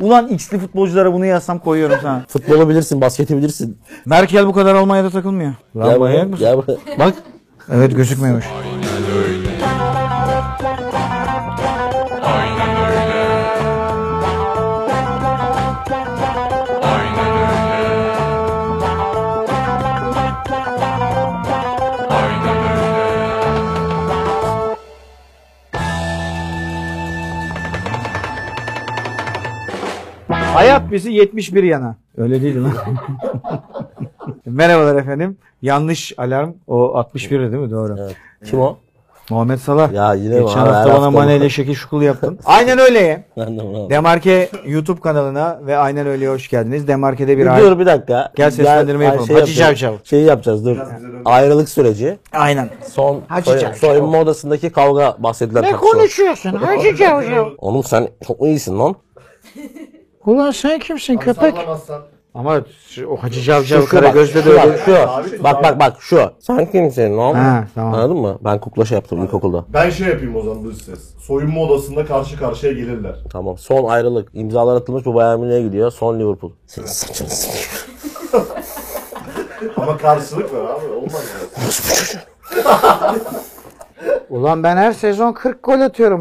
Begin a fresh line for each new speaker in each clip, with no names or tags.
Ulan X'li futbolculara bunu yazsam koyuyorum sana.
Futbolu bilirsin, basketi bilirsin.
Merkel bu kadar Almanya'da takılmıyor. Lan
Gel
manyak
buraya,
mısın?
gel buraya.
Bak. Evet gözükmüyormuş. Hayat bizi 71 yana. Öyle değil mi? Merhabalar efendim. Yanlış alarm. O 61 'di değil mi? Doğru.
Kim o?
Muhammed Salah.
Ya yine
Geçen
var, her
hafta bana
hafta
Mane
bu.
ile şekil şukul yaptın. Aynen öyle.
Ben de bunu
Demarke YouTube kanalına ve Aynen Öyle'ye hoş geldiniz. Demarke'de bir ay-
Dur bir dakika.
Gel seslendirme
Ben-
yapalım.
şey
Hacı
yapacağım.
Cavcav.
Şeyi yapacağız dur. Ayrılık süreci.
Aynen.
Son
Hacı
soy-
Cavcav.
soyunma odasındaki kavga bahsedilen
Ne
tartışma.
konuşuyorsun Hacı Cavcav?
Oğlum sen çok mu iyisin lan?
Ulan sen kimsin köpek?
Ama şu- o Hacı Cavcav kara
bak,
gözde de
şu
öyle.
bak, şu. Bak bak bak şu. Sen kimsin lan?
Ha, tamam.
Anladın mı? Ben kukla şey yaptım ilkokulda.
Ben şey yapayım o zaman dış ses. Soyunma odasında karşı karşıya gelirler.
Tamam. Son ayrılık. İmzalar atılmış bu Bayern Münih'e gidiyor. Son Liverpool. Senin saçını sikeyim.
Ama karşılık var abi olmaz ya.
Ulan ben her sezon 40 gol atıyorum.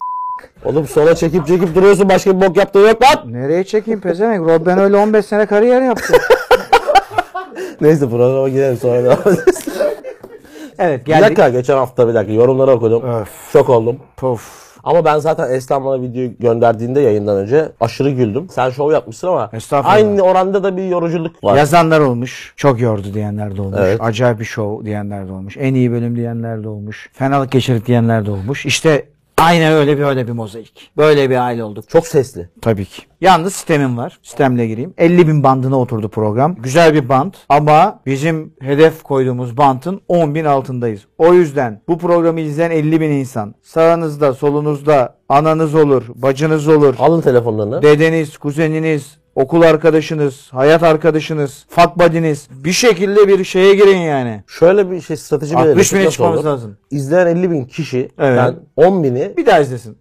Oğlum sola çekip çekip duruyorsun başka bir bok yaptığın yok lan.
Nereye çekeyim pezevenk? Rob ben öyle 15 sene kariyer yaptım.
Neyse programa girelim sonra devam ederiz.
Evet
bir
geldik.
dakika geçen hafta bir dakika yorumları okudum.
Öf.
Şok oldum.
Pof.
Ama ben zaten Eslan bana videoyu gönderdiğinde yayından önce aşırı güldüm. Sen şov yapmışsın ama
Estağfurullah.
aynı oranda da bir yoruculuk var.
Yazanlar olmuş. Çok yordu diyenler de olmuş.
Evet.
Acayip bir şov diyenler de olmuş. En iyi bölüm diyenler de olmuş. Fenalık geçirdik diyenler de olmuş. İşte aynen öyle bir öyle bir mozaik. Böyle bir aile olduk.
Çok sesli.
Tabii ki. Yalnız sistemim var. Sistemle gireyim. 50 bin bandına oturdu program. Güzel bir band ama bizim hedef koyduğumuz bandın 10 bin altındayız. O yüzden bu programı izleyen 50 bin insan sağınızda solunuzda ananız olur, bacınız olur,
Alın telefonlarını.
dedeniz, kuzeniniz, okul arkadaşınız, hayat arkadaşınız, fuck buddy'niz bir şekilde bir şeye girin yani.
Şöyle bir şey strateji
60
belirledik.
bine
Nasıl
çıkmamız
olur?
lazım.
İzleyen 50 bin kişi,
Evet.
ben 10 bini
Bir daha izlesin.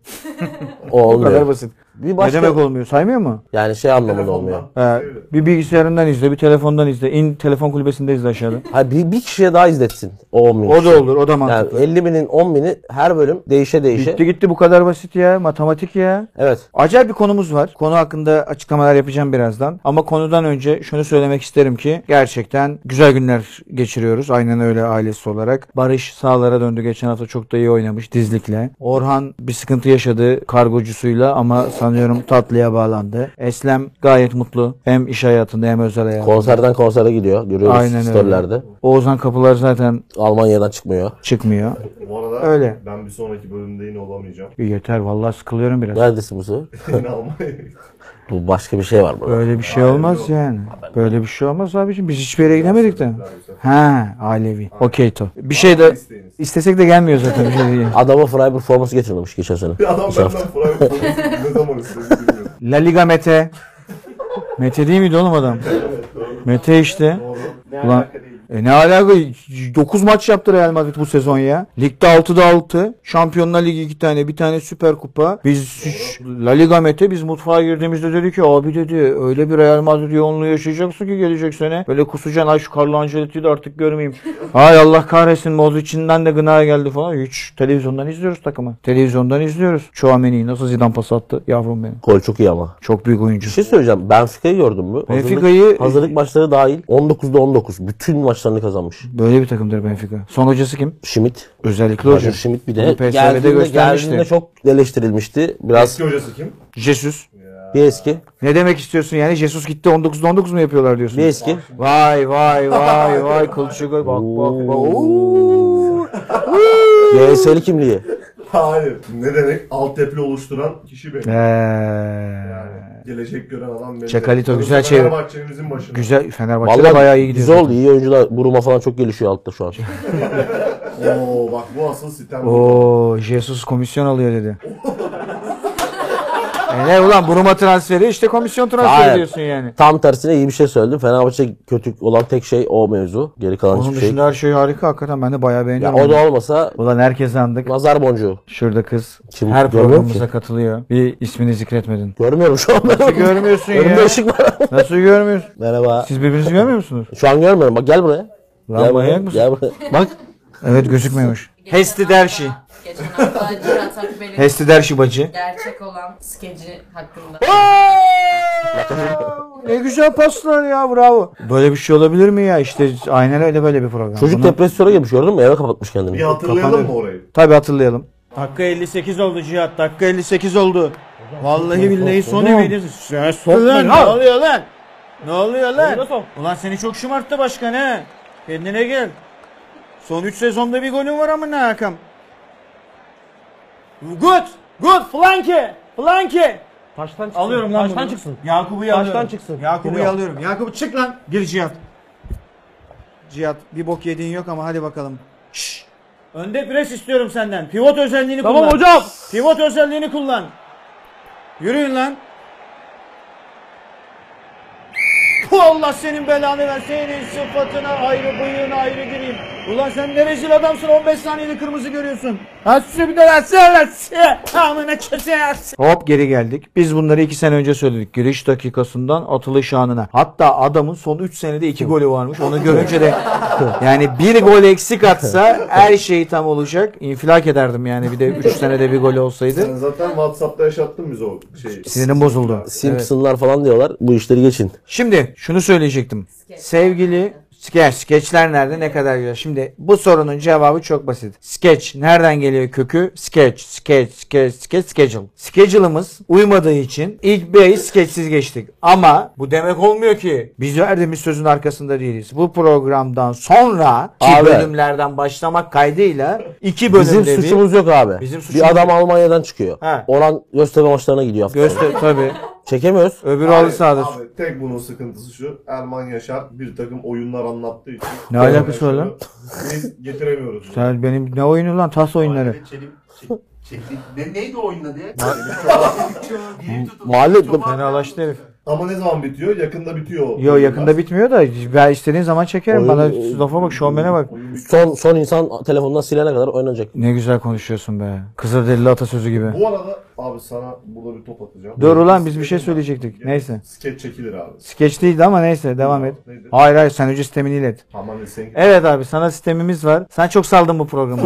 o
Bu kadar
olmuyor.
basit.
Bir
Ne
başka,
demek olmuyor? Saymıyor mu?
yani şey anlamında olmuyor.
Telefondan.
Ee, bir bilgisayarından izle, bir telefondan izle. İn telefon kulübesinde izle aşağıda.
Hayır, bir, bir kişiye daha izletsin o 10 bin
O
kişi.
da olur, o da mantıklı.
Yani 50 binin 10 bini her bölüm değişe değişe.
Bitti gitti bu kadar basit ya. Matematik ya.
Evet.
Acayip bir konumuz var. Konu hakkında açıklamalar yapacağım birazdan. Ama konudan önce şunu söylemek isterim ki gerçekten güzel günler geçiriyoruz. Aynen öyle ailesi olarak. Barış sağlara döndü. Geçen hafta çok da iyi oynamış dizlikle. Orhan bir sıkıntı yaşadı kargocusuyla ama sanıyorum tatlıya bağlandı. Eslem gayet mutlu. Hem iş hayatında hem özel hayatında.
Konserden konsere gidiyor. Görüyoruz
Aynen öyle.
storylerde.
Oğuzhan Kapılar zaten
Almanya'dan çıkmıyor.
çıkmıyor.
Bu arada
Öyle.
ben bir sonraki bölümde yine olamayacağım.
Yeter vallahi sıkılıyorum biraz.
Neredesin bu sefer?
Yine almayı.
Bu başka bir şey var burada.
Böyle bir şey olmaz yani. Böyle bir şey olmaz abiciğim. Biz hiçbir yere gidemedik de. Ha, Alevi. Okey to. Bir şey de
İsteyiniz.
istesek de gelmiyor zaten bir şey değil.
Adama Freiburg forması getirmemiş geçen sene.
Bir adam benden para yok. ne zaman istediğini bilmiyorum.
La Liga Mete. Mete değil miydi oğlum adam? Mete işte. Ulan, e ne alaka? 9 maç yaptı Real Madrid bu sezon ya. Ligde 6'da 6. Şampiyonlar Ligi 2 tane. Bir tane Süper Kupa. Biz hiç- La Liga Mete biz mutfağa girdiğimizde dedi ki abi dedi öyle bir Real Madrid yoğunluğu yaşayacaksın ki gelecek sene. Böyle kusacaksın ay şu Carlo Ancelotti'yi de artık görmeyeyim. Ay Allah kahretsin Modric'inden de gına geldi falan. Hiç televizyondan izliyoruz takımı. Televizyondan izliyoruz. Chouameni'yi nasıl Zidane pas attı yavrum benim.
Gol çok iyi ama.
Çok büyük oyuncu.
Bir şey söyleyeceğim. Benfica'yı gördün mü? Hazırlık-
Benfica'yı-
hazırlık maçları dahil 19'da 19. Bütün maçlarını kazanmış.
Böyle bir takımdır Benfica. Son hocası kim?
Schmidt.
Özellikle
Roger
hoca.
Schmidt bir
Bunu
de
PSV'de
geldiğinde,
göstermişti.
geldiğinde çok eleştirilmişti. Biraz
Eski hocası kim?
Jesus.
bir eski.
Ne demek istiyorsun yani? Jesus gitti 19'da 19 mu yapıyorlar diyorsun?
Bir eski.
Vay vay vay vay kılıçı gol. Bak bak bak. Oo.
GS'li kimliği.
Hayır. Ne demek? Altyapı oluşturan kişi benim.
Ee,
Gelecek gören adam benim.
Çakalito
Burası
güzel şey- çevir.
Fenerbahçe'mizin başında.
güzel Fenerbahçe'de
Vallahi
bayağı iyi gidiyor.
Güzel oldu. İyi oyuncular. Buruma falan çok gelişiyor altta şu an.
Oo bak bu asıl sitem.
Oo, Jesus komisyon alıyor dedi. E ne ulan Buruma transferi işte komisyon transferi
Hayır.
diyorsun yani.
Tam tersine iyi bir şey söyledim. Fenerbahçe kötü olan tek şey o mevzu. Geri kalan
Onun
hiçbir şey.
dışında her şey harika hakikaten ben de bayağı
Ya
beğeniyorum.
o da olmasa
Ulan herkese andık.
nazar boncuğu.
Şurada kız
Kim-
her
görmüyor
programımıza
ki.
katılıyor. Bir ismini zikretmedin.
Görmüyorum şu an.
Nasıl görmüyorsun
Önümde
ya?
ışık var.
Nasıl görmüyorsun?
Merhaba.
Siz birbirinizi görmüyor musunuz?
Şu an görmüyorum. Bak gel buraya.
Lan
gel buraya.
manyak mısın?
Gel buraya. Bak.
Evet gözükmüyormuş. Hesti Derşi.
Geçen hafta Cira Takbel'in
Hesti Derşi bacı.
gerçek olan skeci hakkında.
Ne güzel paslar ya bravo. Böyle bir şey olabilir mi ya? İşte aynen öyle böyle bir program.
Çocuk
Bunu-
depresyona girmiş gördün mü? Eve kapatmış
Bir
kendini.
hatırlayalım mı orayı?
Tabii hatırlayalım. Dakika 58 oldu Cihat. Dakika 58 oldu. Vallahi billahi son evidir. Sen lan. Ne oluyor lan? Ne oluyor lan? Ulan seni çok şımarttı başkan he. Kendine gel. Son 3 sezonda bir golün var amına Hakan. Good. Good. Flanke. Flanke.
Taştan çıksın.
Alıyorum lan
Taştan
bunu.
çıksın.
Yakubu'yu
Baştan
alıyorum.
çıksın.
Yakubu'yu
Geliyor.
alıyorum. Yakubu çık lan. Gir Cihat. Cihat bir bok yediğin yok ama hadi bakalım. Şşş. Önde pres istiyorum senden. Pivot özelliğini
Tamam
kullan.
hocam.
Pivot özelliğini kullan. Yürüyün lan. Puh, Allah senin belanı ver. Senin sıfatına ayrı bıyığına ayrı gireyim. Ulan sen ne rezil adamsın 15 saniyede kırmızı görüyorsun. Ha bir de Amına Hop geri geldik. Biz bunları 2 sene önce söyledik. Giriş dakikasından atılış anına. Hatta adamın son 3 senede 2 golü varmış. Onu görünce de yani bir gol eksik atsa her şey tam olacak. İnfilak ederdim yani bir de 3 senede bir gol olsaydı.
Sen zaten Whatsapp'ta yaşattın bize o şey. şeyi.
Sinirim bozuldu. Evet.
Simpsonlar falan diyorlar. Bu işleri geçin.
Şimdi şunu söyleyecektim. Sevgili skeç, skeçler nerede ne kadar güzel. Şimdi bu sorunun cevabı çok basit. Skeç nereden geliyor kökü? Skeç, skeç, skeç, skeç, schedule. Schedule'ımız uymadığı için ilk bir ayı skeçsiz geçtik. Ama bu demek olmuyor ki biz verdiğimiz sözün arkasında değiliz. Bu programdan sonra ki
Abi.
bölümlerden başlamak kaydıyla iki bölümde
Bizim
bir...
suçumuz yok abi.
Bizim suçumuz
bir adam Almanya'dan çıkıyor.
He.
Orhan Göztepe maçlarına gidiyor hafta sonu.
Göster tabii.
Çekemiyoruz.
Öbürü halı sahada.
Abi tek bunun sıkıntısı şu. Erman Yaşar bir takım oyunlar anlattığı için.
Ne alakası var lan?
Biz getiremiyoruz.
Sen benim ne oyunu lan tas oyunları.
şey
Mahallede Çelik, çe- çelik. Ne, neydi o oyunda diye?
Mahalle
Fenalaştı herif.
Ama ne zaman bitiyor? Yakında bitiyor. o
Yo
oyunlar.
yakında bitmiyor da ben istediğin zaman çekerim.
Oyun-
Bana lafa bak, şovmene bak.
son son insan telefondan silene kadar oynanacak.
Ne güzel konuşuyorsun be. Kıza delili atasözü gibi.
Bu arada abi sana burada bir top atacağım.
Dur ulan biz bir şey söyleyecektik. Neyse.
Skeç çekilir abi.
Skeç değildi ama neyse devam et.
Neydi?
Hayır hayır sen önce sistemini ilet.
Aman sen
Evet abi sana sistemimiz var. Sen çok saldın bu programı.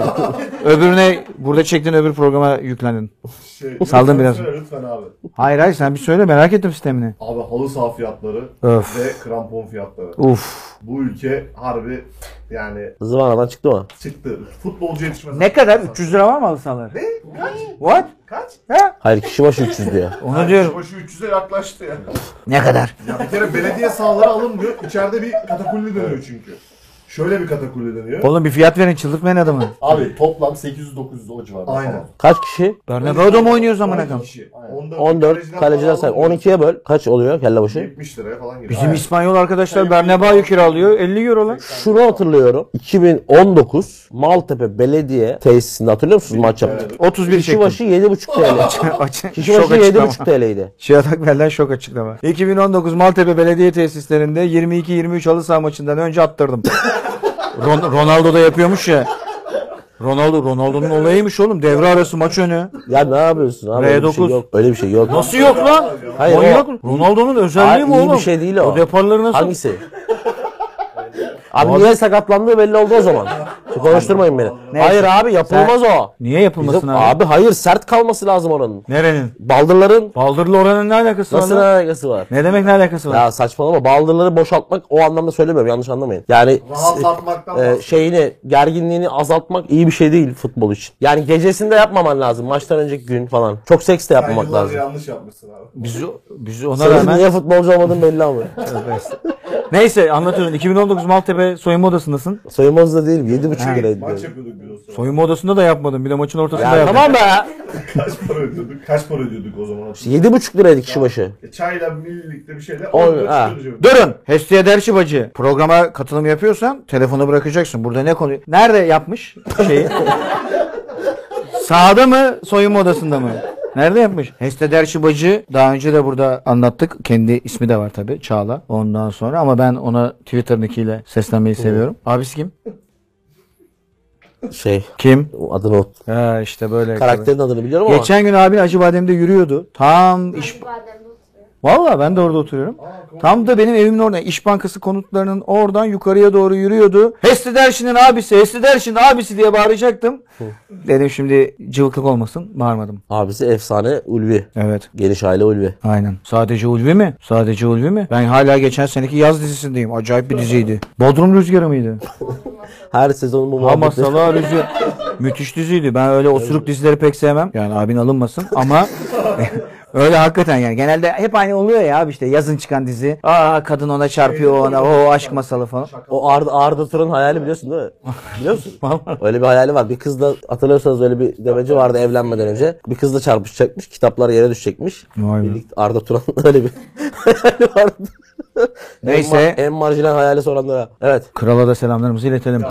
Öbürüne burada çektiğin öbür programa yüklendin.
şey.
Saldım
lütfen
biraz.
söyle Lütfen abi.
Hayır hayır sen bir söyle merak ettim sistemini.
Abi halı saha fiyatları
Öf.
ve krampon fiyatları.
Uf.
Bu ülke harbi yani
Zıvanadan çıktı mı?
çıktı. Futbolcu yetişmez.
Ne kadar? 300 lira var mı halı sahaları?
Ne? Kaç?
What?
Kaç?
Hayır kişi başı 300 diyor.
Onu diyorum.
Başı 300'e yaklaştı ya.
Ne kadar?
Ya bir kere belediye sahaları alınmıyor. İçeride bir katakulli dönüyor çünkü. Şöyle bir katakulli dönüyor.
Oğlum bir fiyat verin çıldırtmayın adamı.
Abi toplam 800-900 o civarında
Aynen.
falan.
Kaç kişi?
Bernabeu'da mı oynuyoruz amına koyayım?
Kişi.
Aynen.
14 kaleciler say. 12'ye böl. Kaç oluyor kelle başı?
70 liraya falan geliyor.
Bizim İspanyol arkadaşlar Bernabeu'yu kiralıyor. 50 euro lan.
Şunu hatırlıyorum. 2019 Maltepe Belediye tesisinde hatırlıyor musunuz maç yaptık?
31
Kişi
çektim.
başı 7,5 TL.
Açın.
Kişi başı
Şok açıklama.
7,5 TL'ydi.
Şiat Akber'den şok açıklama. 2019 Maltepe Belediye Tesislerinde 22-23 halı saha maçından önce attırdım. Ron- Ronaldo da yapıyormuş ya. Ronaldo, Ronaldo'nun olayıymış oğlum. Devre arası maç önü.
Ya ne yapıyorsun abi? Öyle bir şey
R9.
yok. Öyle bir şey yok.
Nasıl yok lan?
Hayır,
Manyak
o-
mı? Ronaldo'nun özelliği
Hayır,
mi
iyi
oğlum?
bir şey değil o.
O deparları nasıl?
Hangisi? abi niye sakatlandığı belli oldu o zaman. Konuşturmayın beni. Hayır abi yapılmaz o.
Niye yapılmasın
Bizim-
abi?
abi hayır sert kalması lazım oranın.
Nerenin?
Baldırların
Baldırlı oranın ne alakası
nasıl
var? lan?
alakası var?
Ne demek ne alakası var?
Ya saçmalama baldırları boşaltmak o anlamda söylemiyorum yanlış anlamayın. Yani
Rahatlatmaktan
e,
bahsediyorum.
şeyini gerginliğini azaltmak iyi bir şey değil futbol için. Yani gecesinde yapmaman lazım maçtan önceki gün falan. Çok seks de
Sen
yapmamak
yıllarca
lazım.
yanlış yapmışsın abi.
Biz, biz ona
Senin
rağmen...
niye futbolcu olmadığın belli ama.
Neyse anlatıyorum. 2019 Maltepe soyunma odasındasın.
Soyunmaz da değil 7,5
Maç
liraydı.
yapıyorduk bir o zaman.
Soyunma odasında da yapmadım. Bir de maçın ortasında
Ya
yaptım.
tamam be.
Kaç para ödüyorduk? Kaç para ödüyorduk o zaman?
7,5 liraydı kişi başı.
E, Çayla birlikte bir şeyle
On-
on lira
ha.
çıkıyordu.
Durun. Hestiye Derşi bacı. Programa katılım yapıyorsan telefonu bırakacaksın. Burada ne konu? Nerede yapmış şeyi? Sağda mı? Soyunma odasında mı? Nerede yapmış? Heste Derşi Bacı daha önce de burada anlattık. Kendi ismi de var tabii Çağla. Ondan sonra ama ben ona Twitter'dakiyle seslenmeyi seviyorum. Abisi kim?
Şey
Kim?
o adını o
Ha işte böyle.
karakterin adını biliyorum ama.
Geçen gün abi Acıbadem'de yürüyordu. Tam iş... Valla ben de orada oturuyorum. Tam da benim evimin orada. İş Bankası konutlarının oradan yukarıya doğru yürüyordu. Hesli Derşi'nin abisi, Hesli Derşi'nin abisi diye bağıracaktım. Dedim şimdi cıvıklık olmasın. Bağırmadım.
Abisi efsane Ulvi.
Evet.
Geniş aile Ulvi.
Aynen. Sadece Ulvi mi? Sadece Ulvi mi? Ben hala geçen seneki yaz dizisindeyim. Acayip bir diziydi. Bodrum Rüzgarı mıydı?
Her sezon bu
Ama
muhabbeti.
Salah Rüzgar. Müthiş diziydi. Ben öyle osuruk dizileri pek sevmem. Yani abin alınmasın ama öyle hakikaten yani. Genelde hep aynı oluyor ya abi işte yazın çıkan dizi. Aa kadın ona çarpıyor o ona. O aşk masalı falan.
O Arda, Arda Turan hayali biliyorsun değil mi? Biliyor musun? öyle bir hayali var. Bir kızla hatırlıyorsanız öyle bir demeci vardı evlenmeden önce. Bir kızla çarpışacakmış. Kitaplar yere düşecekmiş.
Vay be.
Birlikte Arda Turan öyle bir hayali vardı.
Neyse.
En, ma- en marjinal hayali soranlara. Evet.
Krala da selamlarımızı iletelim.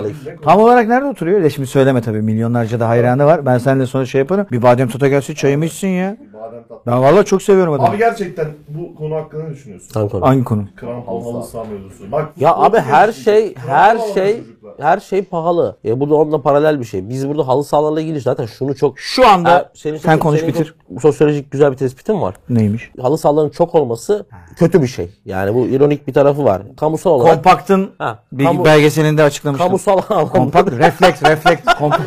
Tam olarak nerede oturuyor? Ya şimdi söyleme tabii. Milyonlarca da hayranı var. Ben seninle sonra şey yaparım. Bir badem tota gelsin çayımı içsin ya.
Badem tatlı.
Ben vallahi çok seviyorum adamı.
Abi gerçekten bu konu hakkında ne düşünüyorsun?
Tam konu.
Hangi konu?
Kıran halı sağ mevzusu. Bak,
Ya
bu-
abi her şey
Kıran
her
halı
şey
çocuklar.
her şey pahalı. E bu da onunla paralel bir şey. Biz burada halı sahalarla ilgili zaten şunu çok
Şu anda
Ha, senin
sen
çok-
konuş
senin
bitir.
çok Sosyolojik güzel bir tespitin var.
Neymiş?
Halı sahaların çok olması kötü bir şey. Yani bu ironik bir tarafı var. Kamusal olarak
Kompakt'ın
Ha,
bir
kamu-
belgeselinde açıklamıştım.
kamusal
Kompakt, refleks, refleks, kompakt.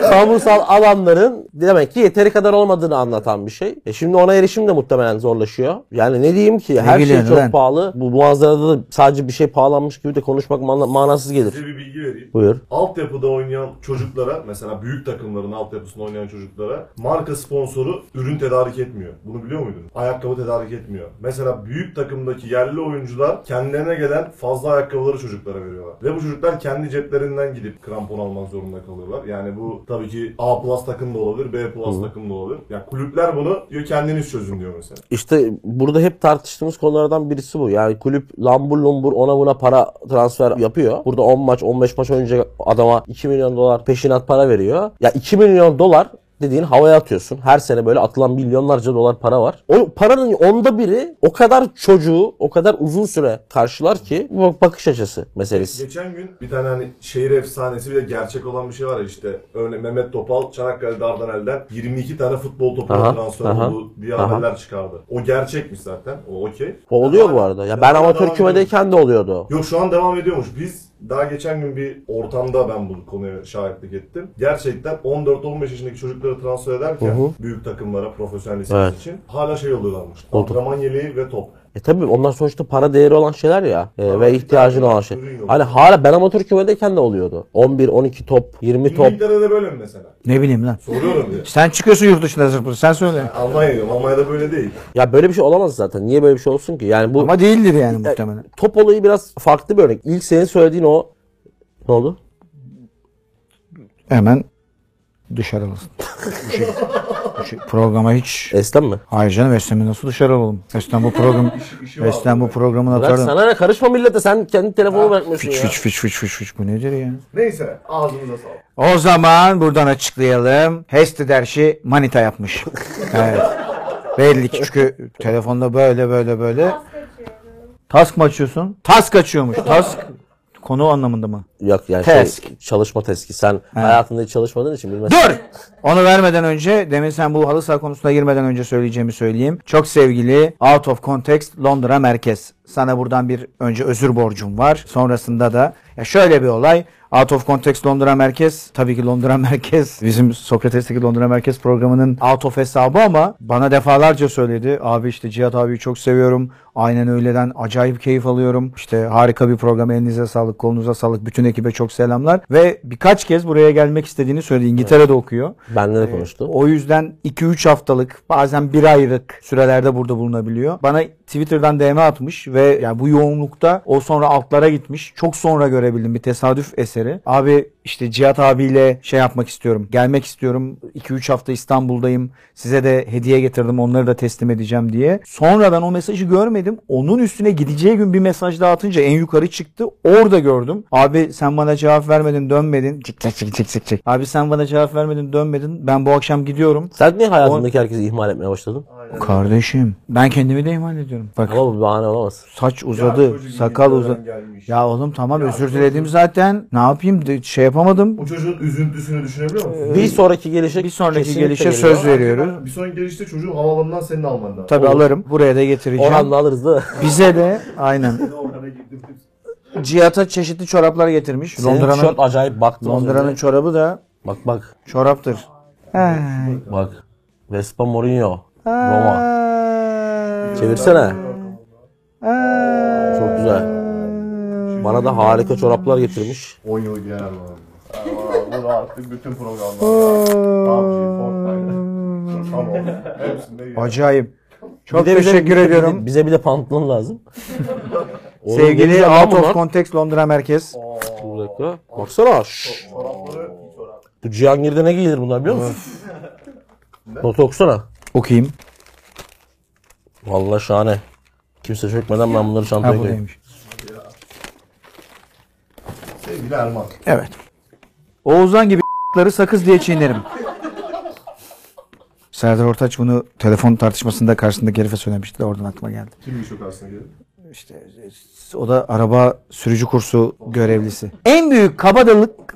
kamusal alanların demek ki yeteri kadar olmadığını anlatan bir şey. E şimdi ona erişim de muhtemelen zorlaşıyor. Yani ne diyeyim ki her şey
gülüyorsun
çok
lan?
pahalı. Bu muazzarada da sadece bir şey pahalanmış gibi de konuşmak mana- manasız gelir.
Size bir bilgi vereyim.
Buyur.
Altyapıda oynayan çocuklara, mesela büyük takımların altyapısında oynayan çocuklara marka sponsoru ürün tedarik etmiyor. Bunu biliyor muydun? Ayakkabı tedarik etmiyor. Mesela büyük takımdaki yerli oyuncular kendilerine gelen fazla ayakkabıları çocuklara veriyorlar. Ve bu çocuklar kendi ceplerinden gidip krampon almak zorunda kalıyorlar. Yani bu tabii ki A plus takım da olabilir, B plus takım da olabilir. Ya kulüpler bunu diyor kendiniz çözün diyor mesela.
İşte burada hep tartıştığımız konulardan birisi bu. Yani kulüp lambur lumbur ona buna para transfer yapıyor. Burada 10 maç 15 maç oynayacak adama 2 milyon dolar peşinat para veriyor. Ya 2 milyon dolar dediğin havaya atıyorsun. Her sene böyle atılan milyonlarca dolar para var. O paranın onda biri o kadar çocuğu o kadar uzun süre karşılar ki bu bakış açısı meselesi.
Geçen gün bir tane hani şehir efsanesi bir de gerçek olan bir şey var ya işte örneğin Mehmet Topal Çanakkale Dardanel'den 22 tane futbol
Aha,
topuna transfer
aha,
oldu diye
aha.
haberler çıkardı. O gerçekmiş zaten. O okey.
O oluyor bu arada. Ya ben
Devam-
amatör
devam ediyormuş.
kümedeyken de oluyordu.
Yok şu an devam ediyormuş. Biz daha geçen gün bir ortamda ben bu konuya şahitlik ettim. Gerçekten 14-15 yaşındaki çocukları transfer ederken
Hı hı.
büyük takımlara profesyonel lisans
Evet.
için hala şey oluyorlarmış.
Oldu.
Antrenman yeleği ve top.
E tabii onlar sonuçta para değeri olan şeyler ya E, ve ihtiyacın olan şey.
Ürün yok.
Hani hala ben amatör küvedeyken de oluyordu. 11, 12 top, 20 top.
İngiltere'de böyle mi mesela?
Ne bileyim lan.
Soruyorum diye.
Sen çıkıyorsun yurt dışına zırpır. Sen söyle.
Almanya diyorum. Almanya'da böyle değil.
Ya böyle bir şey olamaz zaten. Niye böyle bir şey olsun ki? Yani bu
Ama değildir yani muhtemelen.
top olayı biraz farklı bir örnek. İlk senin söylediğin o ne oldu?
Hemen dışarı alırsın. Bu şey, bu şey- programa hiç...
Eslem mi?
Hayır canım Eslem'i nasıl dışarı alalım? Eslem bu program... Eslem bu programın
Bırak
atarım.
sana ne karışma millete sen kendi telefonu bırakmıyorsun
Fiç
ya.
fiç fiç fiç fiç fiç bu nedir ya?
Neyse ağzınıza sağlık.
O zaman buradan açıklayalım. Hesti derşi manita yapmış. evet. Belli ki çünkü telefonda böyle böyle böyle. Task mı açıyorsun? Task açıyormuş. Task konu anlamında mı?
Yok yani şey,
Tesk.
çalışma teski. Sen hayatında hiç çalışmadığın için bilmezsin.
Dur! Onu vermeden önce, demin sen bu halı saha konusuna girmeden önce söyleyeceğimi söyleyeyim. Çok sevgili Out of Context Londra Merkez. Sana buradan bir önce özür borcum var. Sonrasında da ya şöyle bir olay. Out of Context Londra Merkez, tabii ki Londra Merkez, bizim Sokrates'teki Londra Merkez programının out of hesabı ama bana defalarca söyledi. Abi işte Cihat abiyi çok seviyorum. Aynen öyleden acayip keyif alıyorum. İşte harika bir program. Elinize sağlık, kolunuza sağlık. Bütün ekibe çok selamlar. Ve birkaç kez buraya gelmek istediğini söyledi. İngiltere'de okuyor.
Benden
Ee,
de konuştu.
O yüzden 2-3 haftalık bazen 1 aylık sürelerde burada bulunabiliyor. Bana Twitter'dan DM atmış ve yani bu yoğunlukta o sonra altlara gitmiş. Çok sonra görebildim bir tesadüf eseri. Abi işte Cihat abiyle şey yapmak istiyorum. Gelmek istiyorum. 2-3 hafta İstanbul'dayım. Size de hediye getirdim. Onları da teslim edeceğim diye. Sonradan o mesajı görmedim. Onun üstüne gideceği gün bir mesaj daha atınca en yukarı çıktı. Orada gördüm. Abi sen bana cevap vermedin dönmedin. Çık çık çık çık çık çık. Abi sen bana cevap vermedin dönmedin. Ben bu akşam gidiyorum.
Sen niye hayatındaki herkesi ihmal etmeye başladın?
Kardeşim ben kendimi de ihmal ediyorum. Bak
Ama bu bir bahane olamaz.
saç uzadı. sakal uzadı. Ya oğlum tamam özür diledim zaten. Ne yapayım De- şey yapamadım.
O çocuğun üzüntüsünü düşünebiliyor musun?
Bir sonraki gelişe
Ee, Bir sonraki
kesinlikle
gelişe
geliyor.
söz veriyoruz.
Bir sonraki gelişte çocuğu havalandan senin alman lazım.
Tabii alırım. Buraya da getireceğim.
Orhan'la alırız da.
Bize de aynen.
Orhan'a girdim.
Cihat'a çeşitli çoraplar getirmiş.
Senin
Londra'nın
tişört acayip baktım. az önce.
Londra'nın çorabı da
Bak bak.
çoraptır.
Bak. Vespa Mourinho. Roma. Ee,
Aa,
Çevirsene.
aa.
Çok güzel. Bana da harika çoraplar getirmiş.
10 yıl girer var. Bunu artık bütün programlarda. PUBG, Fortnite. Tamam. Hepsinde girer.
Acayip. Çok
Bir de bize-
teşekkür
bize-
ediyorum.
Bize bir de pantolon lazım. Oğlum, ne
Sevgili
güzel lan
Out of
bunlar.
Context Londra Merkez.
Bir dakika. Baksana. şşş.
Çorapları çorap.
Bu Cihangir'de ne giyilir bunlar biliyor musun? Not okusana.
Okuyayım.
Vallahi şahane. Kimse çökmeden ben bunları
Ha
çantaya koyayım.
buradaymış.
Sevgili Erman.
Evet. Oğuzhan gibi ***ları sakız diye çiğnerim. Serdar Ortaç bunu telefon tartışmasında karşısındaki herife söylemişti. de Oradan aklıma geldi.
Kimmiş o karşısına gelip?
e, O da araba sürücü kursu görevlisi. En büyük kabadayılık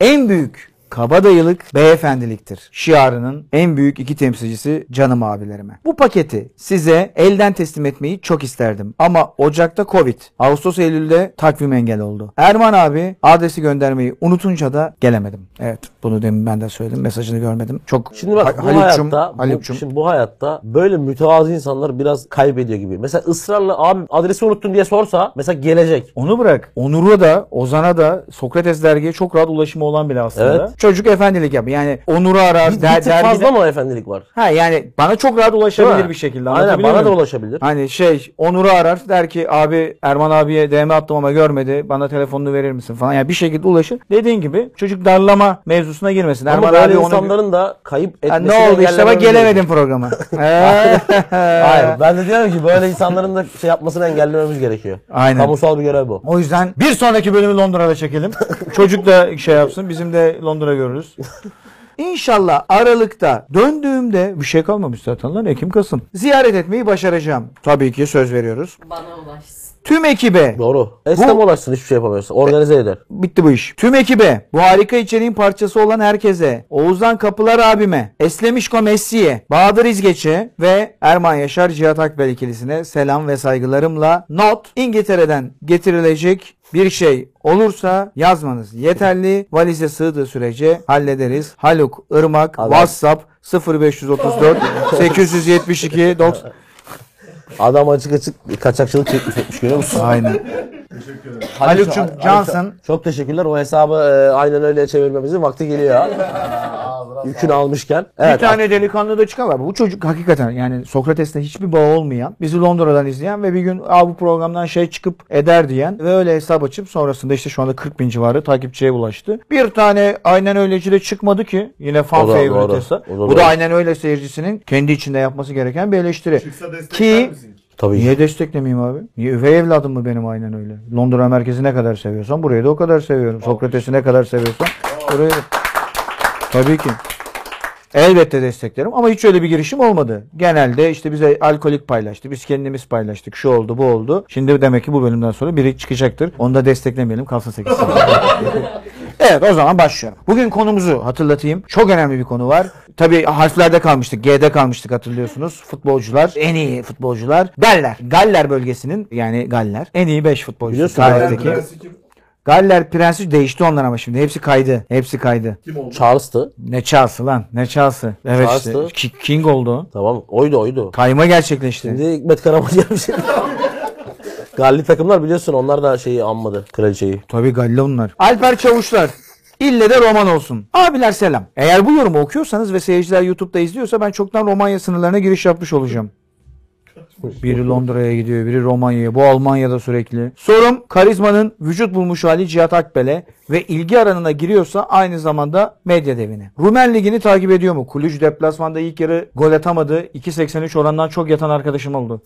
en büyük kabadayılık beyefendiliktir. Şiarının en büyük iki temsilcisi canım abilerime. Bu paketi size elden teslim etmeyi çok isterdim. Ama Ocak'ta Covid, Ağustos Eylül'de takvim engel oldu. Erman abi adresi göndermeyi unutunca da gelemedim. Evet bunu demin ben de söyledim. Mesajını görmedim. Çok
Şimdi bak
Ha-
bu
Haluk'cum,
hayatta, bu,
Haluk'cum.
şimdi bu hayatta böyle mütevazı insanlar biraz kaybediyor gibi. Mesela ısrarla abi adresi unuttun diye sorsa mesela gelecek.
Onu bırak. Onur'a da, Ozan'a da Sokrates dergiye çok rahat ulaşımı olan bile aslında.
Evet.
Çocuk efendilik yapıyor. Yani Onur'u arar.
Bir,
der-
bir tık
dergide-
fazla mı efendilik var?
Ha yani bana çok rahat
Değil mi?
ulaşabilir bir şekilde.
Aynen
Anlatabiliyor
bana da
muyum?
ulaşabilir.
Hani şey Onur'u arar der ki abi Erman abiye DM attım ama görmedi. Bana telefonunu verir misin falan. Yani bir şekilde ulaşır. Dediğin gibi çocuk darlama mevzusuna girmesin.
Ama
Erman
böyle
abi onu...
insanların da kayıp
Ha,
etmesini
ne oldu işte bak
engellemeleri
gelemedim programa. Ee,
gerekiyor. Hayır ben de diyorum ki böyle insanların da şey yapmasını engellememiz gerekiyor.
Aynen.
Kamusal bir görev bu.
o yüzden bir sonraki bölümü Londra'da çekelim. Çocuk da şey yapsın. Bizim de Londra görürüz. İnşallah Aralık'ta döndüğümde bir şey kalmamış zaten lan Ekim Kasım. Ziyaret etmeyi başaracağım. Tabii ki söz veriyoruz.
Bana ulaşsın.
Tüm ekibe
Doğru. Esnem
Bu-
olasın hiçbir şey yapamıyorsun. Organize eder.
bitti bu iş. Tüm ekibe, bu harika içeriğin parçası olan herkese, Oğuzhan Kapılar abime, Eslemişko Messi'ye, Bahadır İzgeç'e ve Erman Yaşar Cihat Akbel ikilisine selam ve saygılarımla not İngiltere'den getirilecek bir şey olursa yazmanız yeterli. Valize sığdığı sürece hallederiz. Haluk Irmak
Adam-
WhatsApp 0534 872 90
Adam açık açık kaçakçılık çekmiş etmiş görüyor musun?
Aynen. Haluk'cum Johnson
Çok teşekkürler. O hesabı e, aynen öyle çevirmemizin vakti geliyor. Yükünü almışken. Evet.
bir tane delikanlı da çıkan var. Bu çocuk hakikaten yani Sokrates'le hiçbir bağı olmayan, bizi Londra'dan izleyen ve bir gün Aa, bu programdan şey çıkıp eder diyen ve öyle hesap açıp sonrasında işte şu anda 40 bin civarı takipçiye ulaştı. Bir tane aynen öyleci de çıkmadı ki. Yine fan
O da
favorite
doğru.
hesap.
O da
Bu
doğru.
da aynen öyle seyircisinin kendi içinde yapması gereken bir eleştiri.
Çıksa destekler
Ki
misin?
Tabii.
Niye desteklemeyeyim abi? Niye üvey evladım mı benim aynen öyle? Londra merkezi ne kadar seviyorsan burayı da o kadar seviyorum. Sokrates'i ne kadar seviyorsan burayı da. Tabii ki. Elbette desteklerim ama hiç öyle bir girişim olmadı. Genelde işte bize alkolik paylaştı, biz kendimiz paylaştık, şu oldu, bu oldu. Şimdi demek ki bu bölümden sonra biri çıkacaktır. Onu da desteklemeyelim, kalsın 8 Evet o zaman başlıyorum. Bugün konumuzu hatırlatayım. Çok önemli bir konu var. Tabii harflerde kalmıştık. G'de kalmıştık hatırlıyorsunuz. Futbolcular, en iyi futbolcular. Galler. Galler bölgesinin yani Galler. En iyi 5 futbolcusu
Biliyorsun,
tarihteki.
Galler Prensi kim?
Galler prensi değişti onlar ama şimdi. Hepsi kaydı. Hepsi kaydı.
Kim oldu?
Charles'tı.
Ne çalsı lan? Ne çalsı? Evet işte.
Charles'tı.
Ki- King oldu. o.
Tamam. Oydu oydu.
Kayma gerçekleşti.
Şimdi Hikmet Karaman gelmiş. Galli takımlar biliyorsun onlar da şeyi anmadı. Kraliçeyi.
Tabii Galli onlar. Alper Çavuşlar. İlle de roman olsun. Abiler selam. Eğer bu yorumu okuyorsanız ve seyirciler YouTube'da izliyorsa ben çoktan Romanya sınırlarına giriş yapmış olacağım. Biri Londra'ya gidiyor, biri Romanya'ya. Bu Almanya'da sürekli. Sorum karizmanın vücut bulmuş hali Cihat Akbel'e ve ilgi aranına giriyorsa aynı zamanda medya devine. Rumen Ligi'ni takip ediyor mu? Kulüç deplasmanda ilk yarı gol atamadı. 2.83 orandan çok yatan arkadaşım oldu.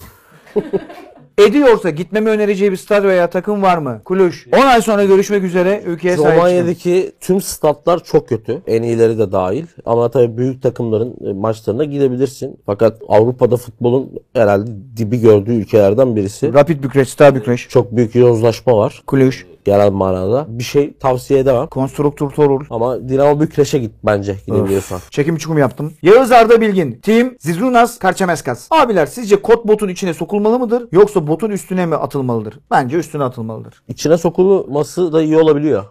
Ediyorsa gitmemi önereceği bir stad veya takım var mı? Kulüş. 10 ay sonra görüşmek üzere. Ülkeye sahip çıkın.
Romanya'daki tüm statlar çok kötü. En iyileri de dahil. Ama tabii büyük takımların e, maçlarına gidebilirsin. Fakat Avrupa'da futbolun herhalde dibi gördüğü ülkelerden birisi.
Rapid Bükreş, Star Bükreş.
Çok büyük yozlaşma var.
Kulüş.
Genel manada. Bir şey tavsiye edemem.
Konstruktör Torul.
Ama Dinamo Bükreş'e git bence gidebiliyorsan.
Çekim çukum yaptım. Yağız Arda Bilgin. Team Zizrunas Karçemeskas. Abiler sizce kot botun içine sokulmalı mıdır? Yoksa botun üstüne mi atılmalıdır? Bence üstüne atılmalıdır.
İçine sokulması da iyi olabiliyor.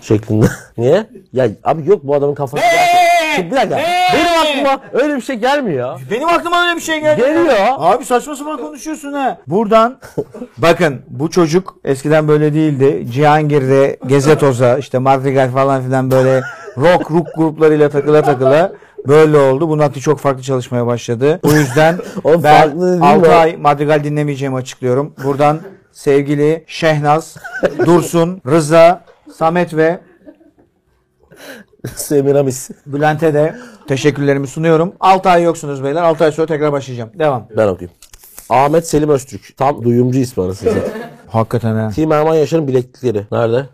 Şeklinde. Niye? Ya abi yok bu adamın kafası. Şimdi bir dakika. Benim aklıma öyle bir şey gelmiyor.
Benim aklıma öyle bir şey geldi.
Geliyor.
Abi saçma sapan konuşuyorsun ha. Buradan bakın bu çocuk eskiden böyle değildi. Cihangir'de Gezetoz'a işte Madrigal falan filan böyle rock rock gruplarıyla takıla takıla böyle oldu. Bunun hakkı çok farklı çalışmaya başladı. O yüzden
O farklı değil
ben
mi?
6 ay Madrigal dinlemeyeceğimi açıklıyorum. Buradan sevgili Şehnaz, Dursun, Rıza, Samet ve
Semiramis.
Bülent'e de teşekkürlerimi sunuyorum. 6 ay yoksunuz beyler. 6 ay sonra tekrar başlayacağım. Devam.
Ben okuyayım. Ahmet Selim Öztürk. Tam duyumcu ismi anasını satayım.
Hakikaten ha.
Team Erman Yaşar'ın bileklikleri. Nerede?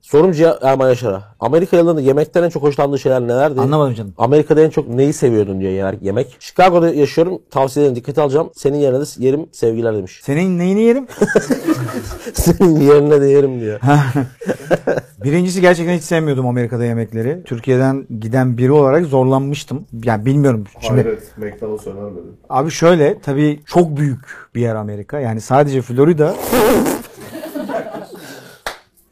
Sorum Cihan Erman Yaşar'a. Amerikalıların yemekten en çok hoşlandığı şeyler nelerdi?
Anlamadım canım.
Amerika'da en çok neyi seviyordun diyor yani yemek. Chicago'da yaşıyorum. Tavsiyelerini dikkate alacağım. Senin yerine de yerim sevgiler demiş.
Senin neyini yerim?
Senin yerine de yerim diyor.
Birincisi gerçekten hiç sevmiyordum Amerika'da yemekleri. Türkiye'den giden biri olarak zorlanmıştım. Yani bilmiyorum. Şimdi
Hayret, McDonald's önermedi.
abi şöyle tabii çok büyük bir yer Amerika. Yani sadece Florida.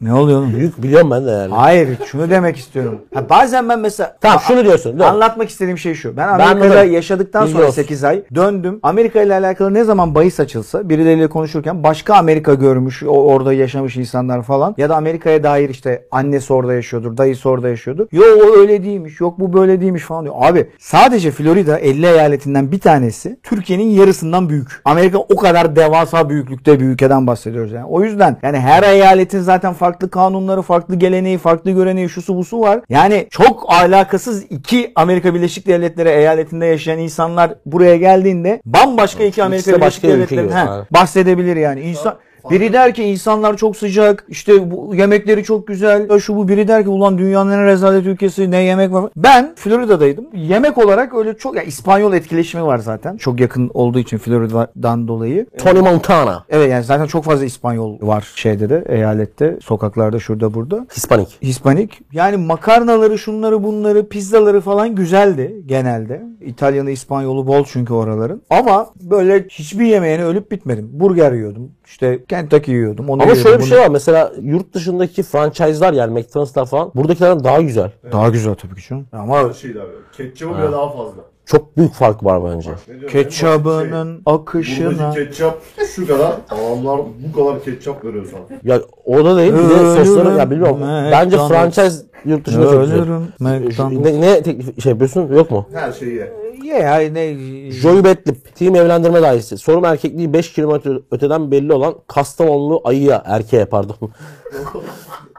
ne oluyor oğlum?
Büyük biliyorum ben de yani.
Hayır şunu demek istiyorum. Ha, bazen ben mesela
Tamam şunu diyorsun. Dur.
Anlatmak istediğim şey şu. Ben
Ben
Amerika'da
anladım.
yaşadıktan sonra
Biliyoruz.
8 ay döndüm. Amerika ile alakalı ne zaman bahis açılsa birileriyle konuşurken başka Amerika görmüş, o- orada yaşamış insanlar falan ya da Amerika'ya dair işte annesi orada yaşıyordur, dayısı orada yaşıyordur. Yo o öyle değilmiş, yok bu böyle değilmiş falan diyor. Abi sadece Florida 50 eyaletinden bir tanesi Türkiye'nin yarısından büyük. Amerika o kadar devasa büyüklükte bir ülkeden bahsediyoruz yani. O yüzden yani her eyaletin zaten farklı kanunları, farklı geleneği, farklı göreneği, şusu busu var. Yani çok alakasız iki Amerika Birleşik Devletleri eyaletinde yaşayan insanlar buraya geldiğinde bambaşka iki Amerika
de
Birleşik
başka ülke
Devletleri'nin
gibi,
he,
aynen.
bahsedebilir yani. İnsan Biri der ki insanlar çok sıcak, işte bu yemekleri çok güzel, ya şu bu. Biri der ki ulan dünyanın en rezalet ülkesi ne yemek var. Ben Florida'daydım. Yemek olarak öyle çok, ya İspanyol etkileşimi var zaten. Çok yakın olduğu için Florida'dan dolayı.
Tony Montana.
Evet yani zaten çok fazla İspanyol var şeyde de eyalette, sokaklarda şurada burada.
Hispanik.
Hispanik. Yani makarnaları, şunları, bunları, pizzaları falan güzeldi genelde. İtalyanı, İspanyolu bol çünkü oraların. Ama böyle hiçbir yemeğine ölüp bitmedim. Burger yiyordum. İşte Kentucky yiyordum. Onu
Ama
yiyordum,
şöyle bir
bunu-
şey var. Mesela yurt dışındaki franchise'lar yani McDonald's'lar falan buradakilerden daha güzel.
Daha güzel tabii ki canım. Ama
Her şey daha böyle. Ketçabı bile daha fazla.
Çok büyük fark var bence.
Ne diyorum, en basit
ketçabının
şey,
akışına...
buradaki ketçap şu kadar, adamlar bu kadar ketçap veriyor sana.
Ya o da değil. Bir de sosları
Ölürüm
ya bilmiyorum.
McDonald's.
Bence franchise yurt dışında çok güzel.
Ölürüm. McDonald's.
Ne, ne teklif şey yapıyorsun? Yok mu?
Her şeyi ye.
Ye ya ne...
Joey Betlip, Team Evlendirme Dairesi. Sorum erkekliği 5 kilometre öteden belli olan Kastamonlu ayıya, erkeğe pardon.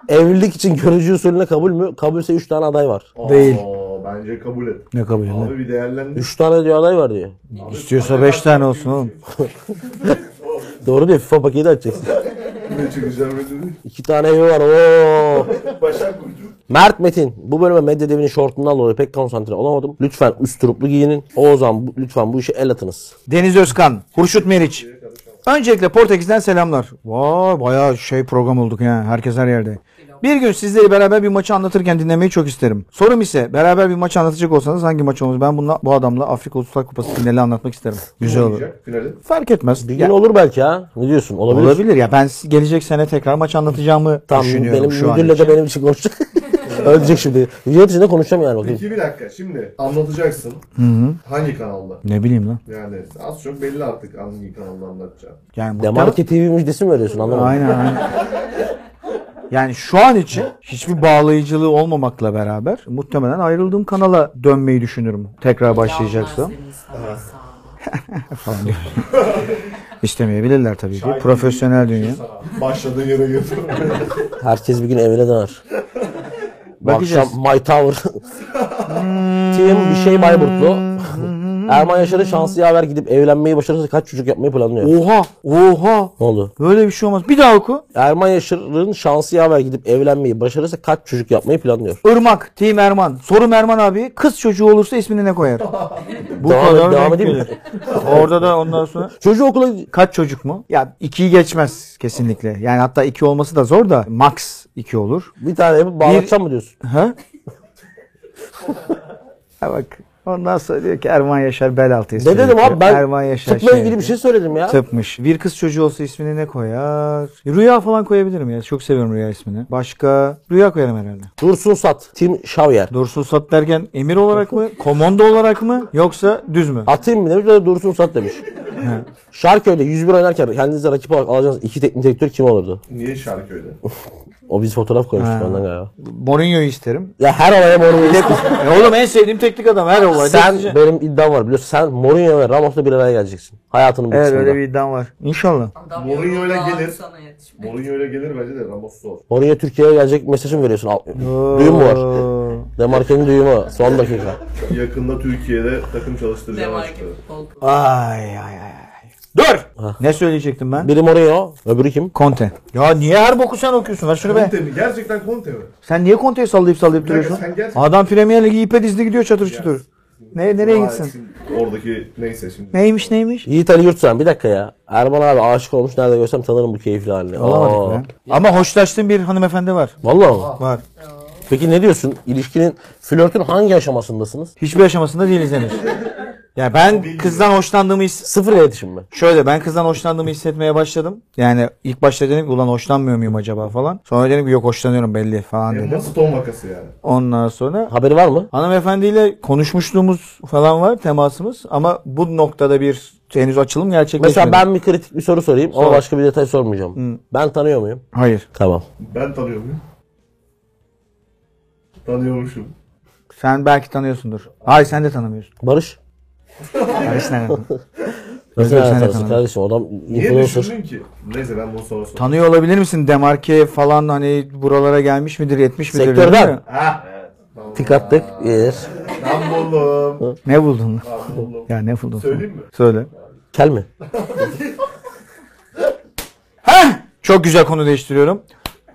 Evlilik için görücü usulüne kabul mü? Kabulse 3 tane aday var.
Değil.
Aa, bence kabul et.
Ne kabul edilir?
Abi bir değerlendir.
3 tane diyor aday var diyor.
İstiyorsa 5 tane olsun oğlum.
Doğru diyor FIFA paketi açacaksın.
Ne çıkacağım dedi.
2 tane evi var. Oo.
Başak Burcu.
Mert Metin. Bu bölüme medya devinin şortundan dolayı pek konsantre olamadım. Lütfen üsturuplu giyinin. Oğuzhan bu- lütfen bu işe el atınız.
Deniz Özkan, Hurşut Meriç. Öncelikle Portekiz'den selamlar. Vay bayağı şey program olduk ya. Herkes her yerde. Bir gün sizleri beraber bir maçı anlatırken dinlemeyi çok isterim. Sorum ise beraber bir maçı anlatacak olsanız hangi maç olur? Ben bununla bu adamla Afrika Uluslar Kupası finali anlatmak isterim. Güzel olur.
Olacak finali.
Fark etmez.
Bir gün
Ya,
olur belki ha. Ne diyorsun? Olabilir.
olabilir ya. Ben s- gelecek sene tekrar maç anlatacağımı
Tamam
düşünüyorum
benim
şu an.
müdürle de benim için konuşacak. Ölecek şimdi. Video içinde konuşacağım yani bakayım.
Peki bir dakika şimdi anlatacaksın. Hangi kanalda?
Ne bileyim lan.
Yani az çok belli artık hangi kanalda anlatacağım.
Yani muhtemelen-
Demarke TV müjdesi mi veriyorsun anlamadım.
Aynen aynen. Yani şu an için hiçbir bağlayıcılığı olmamakla beraber muhtemelen ayrıldığım kanala dönmeyi düşünürüm. Tekrar başlayacaksam. Falan diyor. İstemeyebilirler tabii ki. Profesyonel dünya.
Başladığı yere götür.
Herkes bir gün evine döner. Bu
Bakacağız.
akşam My Tower. Tim bir şey Bayburtlu. Erman Yaşar'ın şansı yaver gidip evlenmeyi başarırsa kaç çocuk yapmayı planlıyor?
Oha! Oha!
Ne oldu?
Böyle bir şey olmaz. Bir daha oku.
Erman Yaşar'ın şansı yaver gidip evlenmeyi başarırsa kaç çocuk yapmayı planlıyor?
Irmak, Team Erman. Sorum Erman abi. Kız çocuğu olursa ismini ne koyar? Bu
Devam-
kadar
devam
denk
edeyim mi?
gelir. Orada da ondan sonra.
Çocuğu okula
Kaç çocuk mu? Ya ikiyi geçmez kesinlikle. Yani hatta iki olması da zor da max iki olur.
bir tane yapıp bağlatacağım mı diyorsun?
Ha? ha bak. Ondan sonra diyor ki Erman Yaşar bel altı ismini
Ne dedim
koyuyor.
abi ben
Erman Yaşar
tıpla
şey
ilgili bir
yapıyor.
şey söyledim ya.
Tıpmış. Bir kız çocuğu olsa ismini ne koyar? Rüya falan koyabilirim ya. Çok seviyorum Rüya ismini. Başka? Rüya koyarım herhalde.
Dursun Sat, Tim Şavyer.
Dursun Sat derken emir olarak mı? Komando olarak mı? Yoksa düz mü?
Atayım mı demiş, öyle Dursun Sat demiş. Şarköy'de 101 oynarken kendinize rakip olarak alacağınız iki teknik direktör kim olurdu?
Niye Şarköy'de?
O biz fotoğraf koymuştuk
Ha.
ondan galiba.
Mourinho'yu isterim.
Ya her olaya Mourinho'yu
E oğlum en sevdiğim teknik adam her olayda.
Sen benim iddiam var biliyorsun. Sen Mourinho ve Ramos'la bir araya geleceksin. Hayatının bir
Evet
kısmında.
öyle bir iddiam var. İnşallah.
Mourinho ile gelir.
Sana yetişmek.
Mourinho öyle gelir bence de Ramos zor.
Mourinho Türkiye'ye gelecek mesajı mı veriyorsun? Al- Düğün mü var?
Oo.
Demarke'nin düğümü. Son dakika.
Yakında Türkiye'de takım çalıştıracağım
Demarke
açıkçası.
futbol.
Ay ay ay. Dur! Ne söyleyecektim ben?
Biri Mourinho, öbürü kim?
Conte. Ya niye her boku sen okuyorsun? Ver şunu be.
Conte mi? Gerçekten Conte mi?
Sen niye Conte'yi sallayıp sallayıp
Bir dakika,
duruyorsun?
sen gerçekten-
Adam Premier Ligi ipe dizdi gidiyor çatır çutur. Ne, nereye
Vay,
gitsin?
şimdi Oradaki neyse şimdi.
Neymiş neymiş?
Yiğit Ali Yurtseven bir dakika ya. Erman abi aşık olmuş nerede görsem tanırım bu keyifli halini. Aa.
Olamadık be. Ama hoşlaştığım bir hanımefendi var.
Vallahi mı?
Var.
Peki ne diyorsun? İlişkinin, flörtün hangi aşamasındasınız?
Hiçbir aşamasında değiliz henüz. ya ben kızdan hoşlandığımı his
Sıfır iletişim mi?
Şöyle ben kızdan hoşlandığımı hissetmeye başladım. Yani ilk başta dedim ki ulan hoşlanmıyor muyum acaba falan. Sonra dedim ki yok hoşlanıyorum belli falan
Emma
dedim.
Stone vakası yani.
Ondan sonra
Haberi var mı?
hanımefendiyle konuşmuşluğumuz falan var temasımız. Ama bu noktada bir henüz açılım gerçekleşmedi.
Mesela ben bir kritik bir soru sorayım ama
Sor.
başka bir detay sormayacağım. Ben tanıyor muyum?
Hayır.
Tamam.
Ben tanıyor muyum? Tanıyormuşum.
Sen belki tanıyorsundur. Hayır sen de tanımıyorsun.
Barış?
Barış ne kadar?
Nasıl
Yok, sen de
tanıyorsun
tanıdın.
kardeşim? Adam
Niye
influencer.
düşündün ki? Neyse ben bunu sonra sorarım.
Tanıyor olabilir misin? Demarke falan hani buralara gelmiş midir, yetmiş midir?
Sektörden.
değil mi?
Tik attık. Yer.
Ben buldum.
Ne buldun?
Ben buldum.
ya ne buldun?
Söyleyeyim mi?
Söyle.
Kel mi?
Çok güzel konu değiştiriyorum.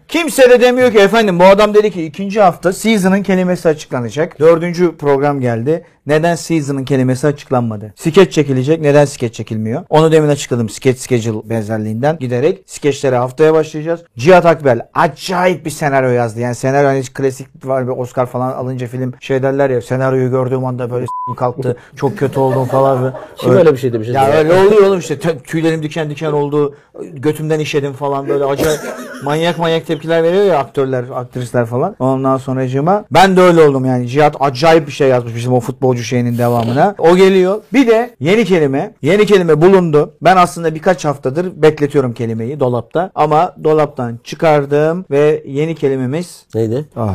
Kimse de demiyor ki efendim bu adam dedi ki ikinci hafta season'ın kelimesi açıklanacak. Dördüncü program geldi. Neden season'ın kelimesi açıklanmadı? Skeç çekilecek. Neden skeç çekilmiyor? Onu demin açıkladım. Skeç schedule benzerliğinden giderek skeçlere haftaya başlayacağız. Cihat Akbel acayip bir senaryo yazdı. Yani senaryo hani klasik var bir Oscar falan alınca film şey derler ya senaryoyu gördüğüm anda böyle s**im kalktı. Çok kötü oldum falan.
Kim öyle bir şey demiş?
Ya öyle oluyor oğlum işte Tö- tüylerim diken diken oldu, götümden işedim falan böyle acayip manyak manyak tepkiler veriyor ya aktörler, aktrisler falan. Ondan sonracığıma ben de öyle oldum yani. Cihat acayip bir şey yazmış bizim o futbolcu şeyinin devamına. O geliyor. Bir de yeni kelime, yeni kelime bulundu. Ben aslında birkaç haftadır bekletiyorum kelimeyi dolapta ama dolaptan çıkardım ve yeni kelimemiz...
Neydi?
Aa,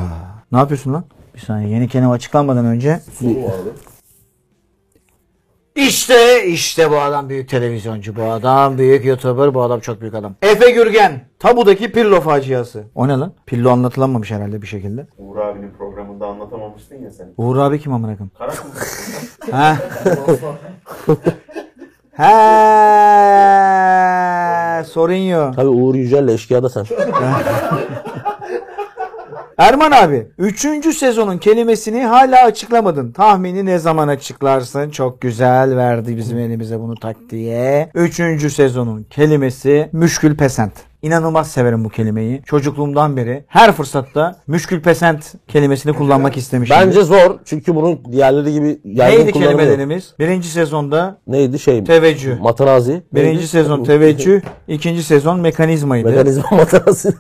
ne yapıyorsun lan? Bir saniye yeni kelime açıklanmadan önce
Soru vardı.
işte işte bu adam büyük televizyoncu, bu adam büyük youtuber, bu adam çok büyük adam. Efe Gürgen, tabudaki Pirlo faciası. O ne lan? Pirlo anlatılanmamış herhalde bir şekilde.
Uğur abinin programında anlatamamıştın ya sen.
Uğur abi kim amına koyayım?
Karakol.
Ha. ha. Sorun yok.
Tabii Uğur Yücel'le eşkıyada sen.
Erman abi, 3. sezonun kelimesini hala açıklamadın. Tahmini ne zaman açıklarsın? Çok güzel verdi bizim elimize bunu tak diye. 3. sezonun kelimesi müşkül pesent. İnanılmaz severim bu kelimeyi. Çocukluğumdan beri her fırsatta müşkül pesent kelimesini kullanmak istemişim.
Bence zor çünkü bunun diğerleri gibi yaygın
Neydi
kullanımı yok.
kelimelerimiz? Birinci sezonda
Neydi şey mi?
teveccüh.
Matarazi.
Birinci
Neydi?
sezon teveccüh, ikinci sezon mekanizmaydı.
Mekanizma matarazi.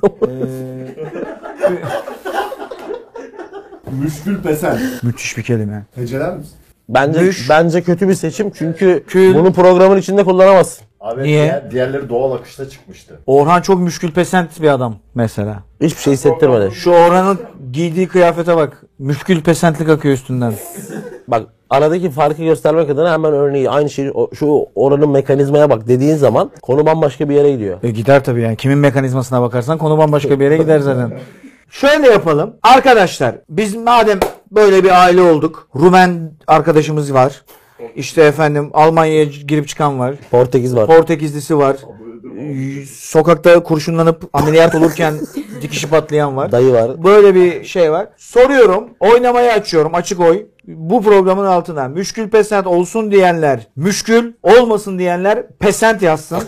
Müşkül pesen.
Müthiş bir kelime.
Heceler misin?
bence
Müş.
bence kötü bir seçim çünkü
Kül.
bunu programın içinde kullanamazsın.
Abi
Niye?
diğer- diğerleri doğal akışta çıkmıştı.
Orhan çok müşkül pesent bir adam mesela.
Hiçbir şey hissettirmedi.
Şu Orhan'ın giydiği kıyafete bak. Müşkül pesentlik akıyor üstünden.
Bak aradaki farkı göstermek adına hemen örneği aynı şeyi o- şu oranın mekanizmaya bak dediğin zaman konu bambaşka bir yere gidiyor.
E gider tabii yani. Kimin mekanizmasına bakarsan konu bambaşka bir yere gider zaten. Şöyle yapalım. Arkadaşlar biz madem böyle bir aile olduk. Rumen arkadaşımız var. İşte efendim Almanya'ya girip çıkan var.
Portekiz var.
Portekizlisi var. Ee, Sokakta kurşunlanıp ameliyat olurken dikişi patlayan var.
Dayı var.
Böyle bir şey var. Soruyorum. Oynamayı açıyorum. Açık oy. Bu programın altına müşkül pesent olsun diyenler müşkül olmasın diyenler pesent yazsın.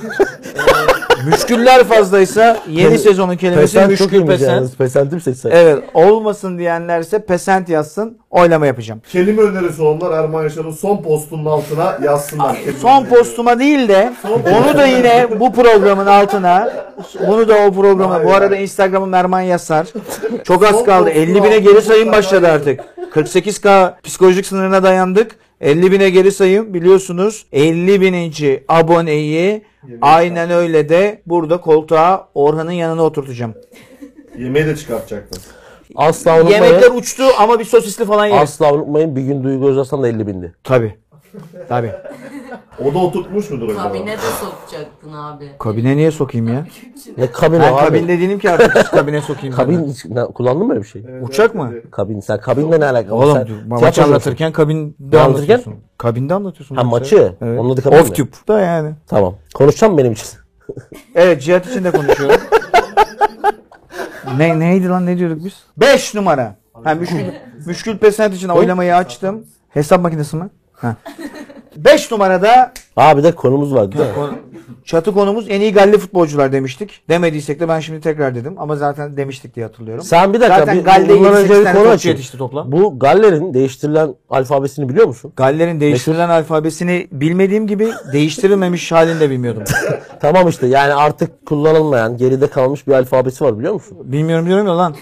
Ee, Müşküller fazlaysa yeni sezonun kelimesi
Pesent çok şey
müşkül
iyiymiş
pesent.
yalnız. Pesent'i mi seçsek?
Evet olmasın diyenlerse pesent yazsın. Oylama yapacağım.
Kelime önerisi olanlar Erman Yaşar'ın son postunun altına yazsınlar.
Son postuma değil de onu da yine bu programın altına bunu da o programa. Bu arada Instagram'ım Erman Yasar. Çok az
Son
kaldı.
postuma
50 bine geri sayım başladı artık. 48K psikolojik sınırına dayandık. 50 bine geri sayım biliyorsunuz 50 bininci aboneyi aynen öyle de burada koltuğa Orhan'ın yanına oturtacağım.
Yemeği de çıkartacaktın.
Asla unutmayın.
Yemekler uçtu ama bir sosisli falan yeriz.
Asla unutmayın bir gün Duygu Özaslan da 50 bindi.
Tabii. Tabii.
O da oturtmuş mudur acaba?
Kabine de sokacaktın abi.
Kabine niye sokayım ya?
Ne kabin
Ben
o abi?
kabin dediğim ki artık hiç kabine sokayım.
Kabin
ben.
hiç- ne- kullandın mı öyle bir şey?
Uçak mı?
Kabin sen kabinle ne alakalı?
Oğlum
sen,
sen, maç
tiyatrocu musun?
anlatırken kabinde
Ne anlatırken?
anlatıyorsun. Kabinde anlatıyorsun.
Ha,
maçı.
maçı.
Evet.
Onun adı kabin mi?
Off tube. Da yani.
Tamam. Konuşacağım benim için.
Evet Cihat için de konuşuyorum. ne, neydi lan ne diyorduk biz? 5 numara. Ha, müşkül, müşkül pesent için oylamayı açtım. Hesap makinesi mi? 5 numarada
Abi de konumuz var değil mi?
çatı konumuz en iyi galli futbolcular demiştik. Demediysek de ben şimdi tekrar dedim ama zaten demiştik diye hatırlıyorum.
Sen bir dakika.
Zaten
bir,
Galli'de
bundan
7-8
önce bir
tane
konu
topçu
açayım.
yetişti toplam.
Bu Galler'in değiştirilen alfabesini biliyor musun?
Galler'in değiştirilen alfabesini bilmediğim gibi değiştirilmemiş halini de bilmiyordum.
Tamam işte yani artık kullanılmayan geride kalmış bir alfabesi var biliyor musun?
Bilmiyorum diyorum ya lan.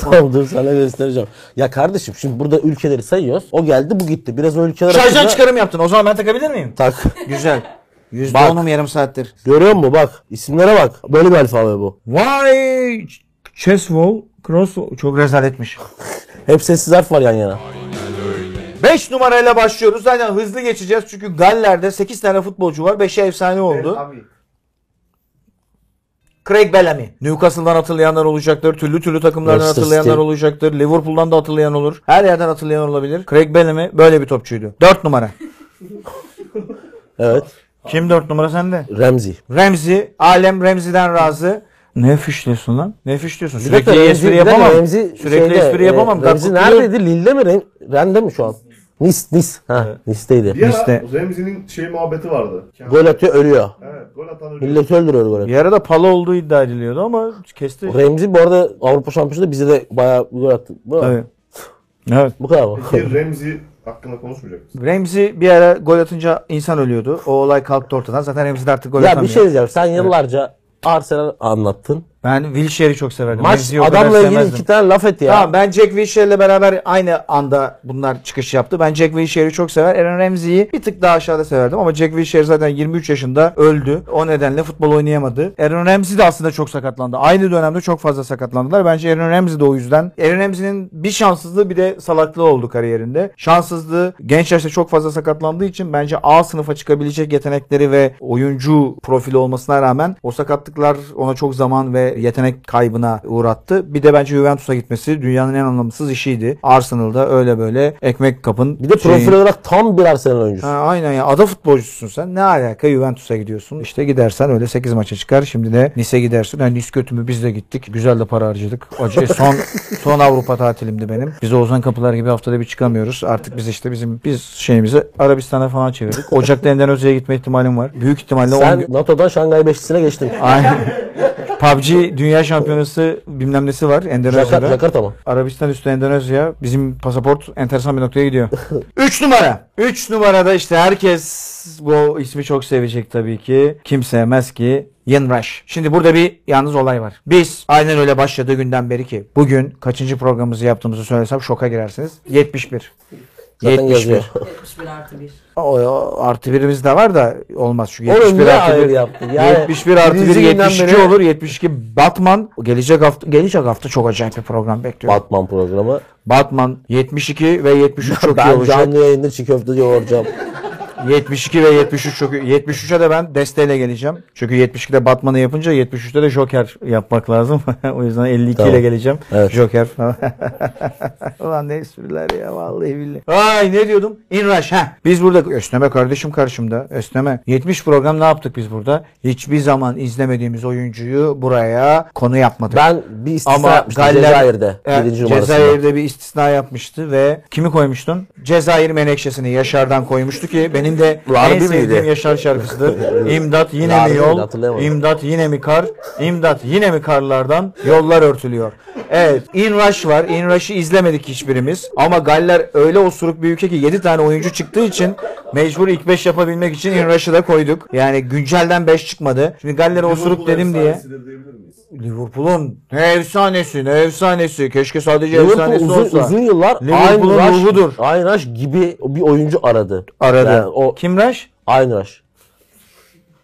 tamam dur sana göstereceğim. Ya kardeşim şimdi burada ülkeleri sayıyoruz. O geldi bu gitti. Biraz o ülkeler
Şarjdan
hakkında-
çıkarım yaptın. O zaman ben takabilir miyim?
Tak.
Güzel. Yüzde
Bak.
onum yarım saattir.
Görüyor musun bak isimlere bak. Böyle bir alfabe bu.
Vay! Chess wall, cross wall. Çok rezaletmiş.
Hep sessiz harf var yan yana.
5 numarayla başlıyoruz. Zaten hızlı geçeceğiz. Çünkü Galler'de 8 tane futbolcu var. 5'e efsane oldu.
Abi.
Craig Bellamy. Newcastle'dan hatırlayanlar olacaktır. Türlü türlü takımlardan
Leicester
hatırlayanlar
City.
olacaktır. Liverpool'dan da hatırlayan olur. Her yerden hatırlayan olabilir. Craig Bellamy böyle bir topçuydu. 4 numara.
Evet.
Kim 4 numara sende?
Remzi.
Remzi. Alem Remzi'den razı. Ne fişliyorsun lan? Ne fişliyorsun?
Bir dakika,
Sürekli espri
bir dakika,
yapamam.
Remzi
Sürekli
şeyde,
espri
e,
yapamam.
Remzi
Gaklı diyor.
neredeydi? Lille'de mi? Ren- Ren'de mi şu an? Nis, Nis. Ha,
Bir
Nis'teydi.
ara
İşte.
Remzi'nin şey muhabbeti vardı.
Gol atıyor ölüyor.
Evet, gol atan ölüyor.
Milleti öldürüyor gol atıyor.
Bir ara da pala olduğu iddia ediliyordu ama kesti.
Remzi bu arada Avrupa Şampiyonası'nda bize de bayağı bir gol attı. Bu,
Tabii. Evet.
bu kadar mı?
Bir şey Remzi hakkında konuşmayacak mısın?
Remzi bir ara gol atınca insan ölüyordu. O olay kalktı ortadan. Zaten Remzi de artık gol
ya bir
atamıyor.
şey diyeceğim. Sen yıllarca Arsenal anlattın.
Ben Wilshere'i çok severdim.
Maç
Remzi'yi o kadar
adamla ilgili
sevmezdim.
iki tane laf etti ya.
Tamam ben Jack Wilshere'le beraber aynı anda bunlar çıkış yaptı. Ben Jack Wilshere'i çok sever. Aaron Ramsey'i bir tık daha aşağıda severdim ama Jack Wilshere zaten 23 yaşında öldü. O nedenle futbol oynayamadı. Aaron Ramsey de aslında çok sakatlandı. Aynı dönemde çok fazla sakatlandılar. Bence Aaron Ramsey de o yüzden. Aaron Ramsey'nin bir şanssızlığı bir de salaklığı oldu kariyerinde. Şanssızlığı genç yaşta çok fazla sakatlandığı için bence A sınıfa çıkabilecek yetenekleri ve oyuncu profili olmasına rağmen o sakatlıklar ona çok zaman ve yetenek kaybına uğrattı. Bir de bence Juventus'a gitmesi dünyanın en anlamsız işiydi. Arsenal'da öyle böyle ekmek kapın.
Bir de profil
şeyin-
olarak tam bir Arsenal oyuncusu.
Ha, aynen ya ada futbolcusun sen. Ne alaka Juventus'a gidiyorsun. İşte gidersen öyle 8 maça çıkar. Şimdi de Nice gidersin. Yani Nice kötü mü biz de gittik. Güzel de para harcadık. Acı, son son Avrupa tatilimdi benim. Biz Oğuzhan Kapılar gibi haftada bir çıkamıyoruz. Artık biz işte bizim biz şeyimizi Arabistan'a falan çevirdik. Ocak'ta Ender Özye'ye gitme ihtimalim var. Büyük ihtimalle on
Sen
gün-
NATO'dan Şangay Beşlisi'ne geçtin.
Aynen. PUBG Dünya Şampiyonası bilmem nesi var
Jakar-
Endonezya'da.
Jakarta mı?
Arabistan üstü Endonezya. Bizim pasaport enteresan bir noktaya gidiyor. 3 numara. 3 numarada işte herkes bu ismi çok sevecek tabii ki. Kim sevmez ki Yinraş. Şimdi burada bir yalnız olay var. Biz aynen öyle başladığı günden beri ki bugün kaçıncı programımızı yaptığımızı söylesem şoka girersiniz. 71.
Zaten
71.
yazıyor.
71 artı 1.
O, o artı birimiz de var da olmaz çünkü
Oğlum
71
niye
artı
hayır
bir-
yaptın? Yani
71 artı 1
birinci günden
72
beri
olur. 72 Batman gelecek hafta gelecek hafta çok acayip bir program bekliyor.
Batman programı.
Batman 72 ve 73 çok iyi
ben
olacak.
canlı yayında çiğ köfte yoğuracağım.
72 ve 73 çok iyi. 73'e de ben desteğiyle geleceğim. Çünkü 72'de Batman'ı yapınca 73'te de Joker yapmak lazım. o yüzden 52 ile
Tamam.
geleceğim.
Evet.
Joker. Ulan ne espriler ya vallahi billahi. Ay ne diyordum? İnraş ha. Biz burada Ösneme kardeşim karşımda. Ösneme. 70 program ne yaptık biz burada? Hiçbir zaman izlemediğimiz oyuncuyu buraya konu yapmadık.
Ben bir istisna
Ama E,
yapmıştım
Galler,
Cezayir'de.
Evet,
birinci numarasında.
Cezayir'de bir istisna yapmıştı ve kimi koymuştun? Cezayir Menekşesini Yaşar'dan koymuştu ki benim de
Harbi
en sevdiğim
miydi?
Yaşar şarkısıdır. İmdat yine
Harbi
mi
miydi?
yol?
Hatırlayamadım.
İmdat yine mi kar? İmdat yine mi karlardan? Yollar örtülüyor. Evet. Inrush var. Inrush'ı izlemedik hiçbirimiz. Ama Galler öyle osuruk bir ülke ki 7 tane oyuncu çıktığı için mecbur ilk 5 yapabilmek için Inrush'ı da koyduk. Yani güncelden 5 çıkmadı. Şimdi Galler'e osuruk dedim diye. Liverpool'un ne efsanesi ne efsanesi. Keşke sadece
Liverpool
efsanesi
uzun,
olsa.
uzun yıllar
Liverpool'un
Aynraş-
ruhudur.
Aynraş gibi bir oyuncu aradı.
Aradı.
Yani o
Kim Raş?
Aynraş.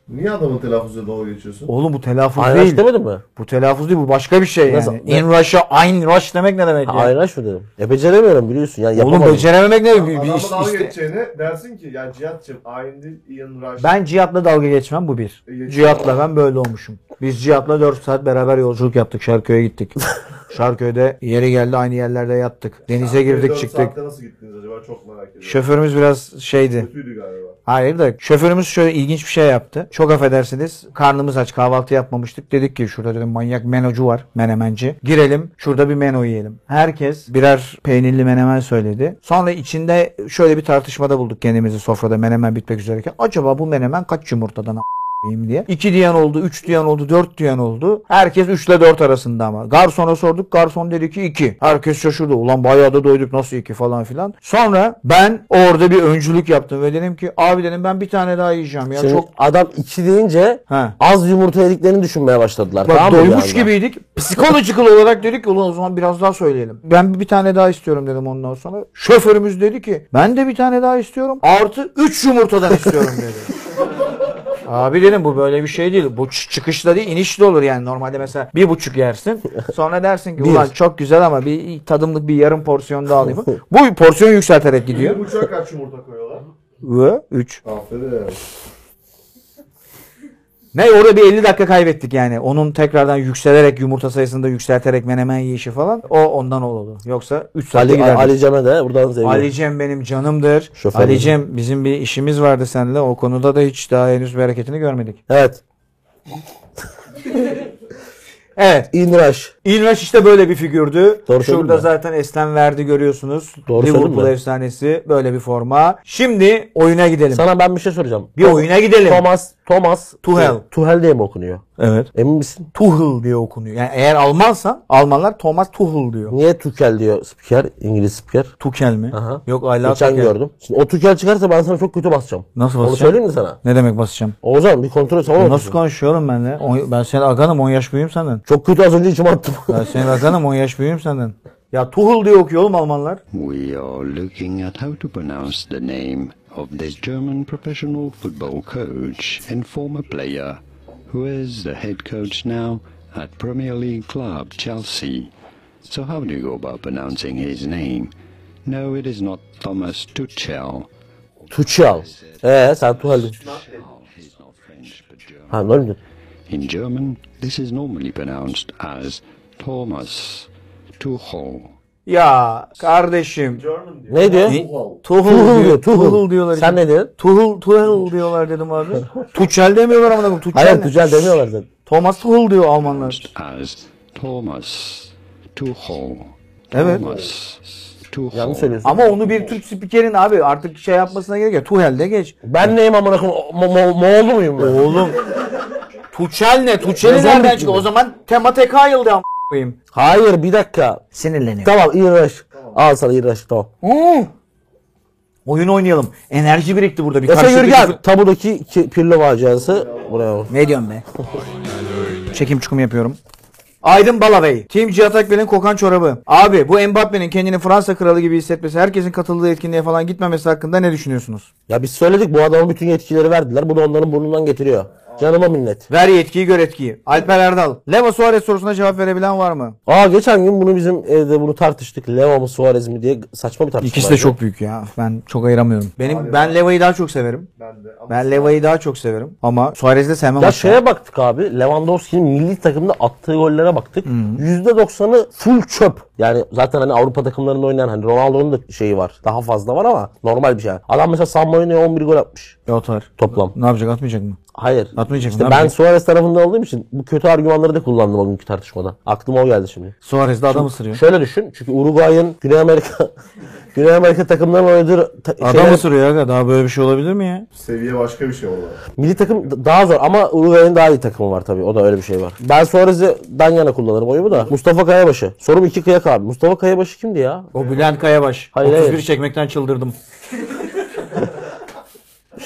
Niye adamın telaffuzuyla dalga geçiyorsun?
Oğlum bu telaffuz
Aynraş
değil.
demedin mi?
Bu telaffuz değil bu başka bir şey
Nasıl-
yani. In Rush'a Ayn Rush demek ne demek
Ha,
ya?
Aynraş mı dedim? E beceremiyorum biliyorsun. Yani
Oğlum
yapamadım.
becerememek ne? Bir, bir
Adamla
is-
dalga
iste-
geçeceğine dersin ki ya Cihat'cığım aynı değil Ian Rush.
Ben Cihat'la dalga geçmem bu bir.
Geçme.
Cihat'la ben böyle olmuşum. Biz Cihat'la 4 saat beraber yolculuk yaptık. Şarköy'e gittik. Şarköy'de yeri geldi aynı yerlerde yattık. Denize girdik
Dört
çıktık.
saatte nasıl gittiniz acaba çok merak ediyorum.
Şoförümüz biraz şeydi.
Kötüydü galiba.
Hayır da şoförümüz şöyle ilginç bir şey yaptı. Çok affedersiniz. Karnımız aç kahvaltı yapmamıştık. Dedik ki şurada dedim manyak menocu var. Menemenci. Girelim şurada bir meno yiyelim. Herkes birer peynirli menemen söyledi. Sonra içinde şöyle bir tartışmada bulduk kendimizi sofrada menemen bitmek üzereyken. Acaba bu menemen kaç yumurtadan a**ayım diye. 2 diyen oldu, 3 diyen oldu, 4 diyen oldu. Herkes 3 ile 4 arasında ama. Garsona sorduk. Garson dedi ki 2. Herkes şaşırdı. Ulan bayağı da doyduk nasıl 2 falan filan. Sonra ben orada bir öncülük yaptım ve dedim ki abi dedim ben bir tane daha yiyeceğim ya.
Şimdi
Çok
adam içi deyince
Ha.
az yumurta yediklerini düşünmeye başladılar.
Bak,
tamam mı bir
doymuş
anda?
gibiydik. Psikolojik olarak dedik ki ulan o zaman biraz daha söyleyelim. Ben bir tane daha istiyorum dedim ondan sonra. Şoförümüz dedi ki ben de bir tane daha istiyorum. Artı 3 yumurtadan istiyorum dedi. Abi dedim bu böyle bir şey değil. Bu ç- çıkışta değil iniş de olur yani. Normalde mesela bir buçuk yersin. Sonra dersin ki ulan çok güzel ama bir tadımlık bir yarım porsiyon daha alayım. Bu porsiyon yükselterek gidiyor.
Bir buçuğa kaç yumurta koyuyorlar?
Ve 3.
Aferin.
Ne orada bir 50 dakika kaybettik yani. Onun tekrardan yükselerek yumurta sayısını da yükselterek menemen yiyişi falan. O ondan oldu. Yoksa 3 saatte
Ali,
giderdik. Ali,
Ali Cem'e de buradan sevgiler.
Cem benim canımdır.
Şoför
Ali
benim.
Cem bizim bir işimiz vardı seninle. O konuda da hiç daha henüz bir hareketini görmedik.
Evet.
Evet.
İnraş.
İlmeç işte böyle bir figürdü.
Doğru söyledin
Şurada
mi?
zaten Eslem Verdi görüyorsunuz.
Doğru söyledin
Liverpool
mi?
efsanesi böyle bir forma. Şimdi oyuna gidelim.
Sana ben bir şey soracağım.
Bir oyuna gidelim.
Thomas, Thomas.
Tuchel.
Tuhel diye mi okunuyor?
Evet.
Emin misin?
Tuchel diye okunuyor. Yani eğer Almansan Almanlar Thomas Tuchel diyor.
Niye Tuchel diyor spiker? İngiliz spiker.
Tuchel mi?
Aha.
Yok Ayla
Geçen
Tuchel.
gördüm. Şimdi o Tuchel çıkarsa ben sana çok kötü basacağım.
Nasıl
Onu
basacağım?
söyleyeyim mi sana?
Ne demek basacağım?
Oğuzhan bir kontrol et.
Ya
Sana
Nasıl konuşuyorum ben de? On- ben senin aganım 10 yaş büyüğüm senden.
Çok kötü az önce içime attım.
Ben senin aganım 10 yaş büyüğüm senden. Ya Tuhul diye okuyor oğlum Almanlar.
We are looking at how to pronounce the name of this German professional football coach and former player who is the head coach now at Premier League club Chelsea. So how do you go about pronouncing his name? No, it is not Thomas Tuchel.
Tuchel. Ee sen Tuchel. diyorsun.
He's not French, but German.
Ha ne oldu?
In German, this is normally pronounced as Thomas Tuchel.
Ya kardeşim.
German diyor.
Ne diyor?
Wow.
Tuhul
Tuchel
diyor.
diyor. Tuchel.
Tuhul diyorlar.
Sen ne diyorsun?
Tuhul, Tuhul diyorlar dedim abi. Tuchel demiyorlar ama koyayım. Tuchel.
Hayır
ne?
Tuchel demiyorlar zaten.
Thomas Tuhul diyor Almanlar.
as Thomas Tuchel.
Evet.
Thomas Tuchel.
Yanlış söylüyorsun.
Ama onu bir Türk spikerin abi artık şey yapmasına gerek yok. Tuhel de geç.
Ben neyim amına koyayım? Mo- Mo- Moğol muyum ben?
Oğlum. Tuchel ne? Tuchel'i
Yazan
nereden
bitti
çıkıyor?
mi?
O zaman Tema TK yıldı ama koyayım.
Hayır bir dakika.
Sinirleniyor.
Tamam İğrenç. Al sana İğrenç tamam.
Oo. Oyun oynayalım. Enerji birikti burada. Bir
Efe
karşılıklı
Yürgen
fut-
tabudaki iki pirlo faciası buraya. bak.
Ne diyorsun be? Çekim çukum yapıyorum. Aydın Balabey. Team Cihat Akbel'in kokan çorabı. Abi bu Mbappe'nin kendini Fransa kralı gibi hissetmesi, herkesin katıldığı etkinliğe falan gitmemesi hakkında ne düşünüyorsunuz?
Ya biz söyledik bu adama bütün yetkileri verdiler. Bu da onların burnundan getiriyor. Canıma minnet.
Ver yetkiyi gör etkiyi. Alper Erdal. Leva Suarez sorusuna cevap verebilen var mı?
Aa geçen gün bunu bizim evde bunu tartıştık. Leva mı Suarez mi diye saçma bir tartışma.
İkisi de
vardı.
çok büyük ya. Ben çok ayıramıyorum. Benim ben Leva'yı daha çok severim.
Ben de. Ama
Ben Leva'yı daha çok severim ama Suarez'i de sevmem.
Ya
aslında.
şeye baktık abi. Lewandowski'nin milli takımda attığı gollere baktık. %90'ı full çöp. Yani zaten hani Avrupa takımlarında oynayan hani Ronaldo'nun da şeyi var. Daha fazla var ama normal bir şey. Adam mesela San Marino'ya 11 gol atmış
Ya atar.
toplam.
Ne yapacak atmayacak mı?
Hayır.
Atmayacak mı?
İşte
Ne
ben
yapacak?
Suarez tarafında olduğum için bu kötü argümanları da kullandım o günkü tartışmada. Aklıma o geldi şimdi.
Suarez de adam ısırıyor.
Şöyle düşün. Çünkü Uruguay'ın Güney Amerika Güney Amerika takımlarının oynadığı ta-
Adam
şeyler-
ısırıyor ya. Daha böyle bir şey olabilir mi ya?
Seviye başka bir şey valla.
milli takım d- daha zor ama Uruguay'ın daha iyi takımı var tabii. O da öyle bir şey var. Ben Suarez'den yana kullanırım oyumu da. Mustafa Kayabaşı. Sorum iki kıyak abi. Mustafa Kayabaşı kimdi ya?
O Bülent Kayabaş.
Hayır,
31
hayır.
çekmekten çıldırdım.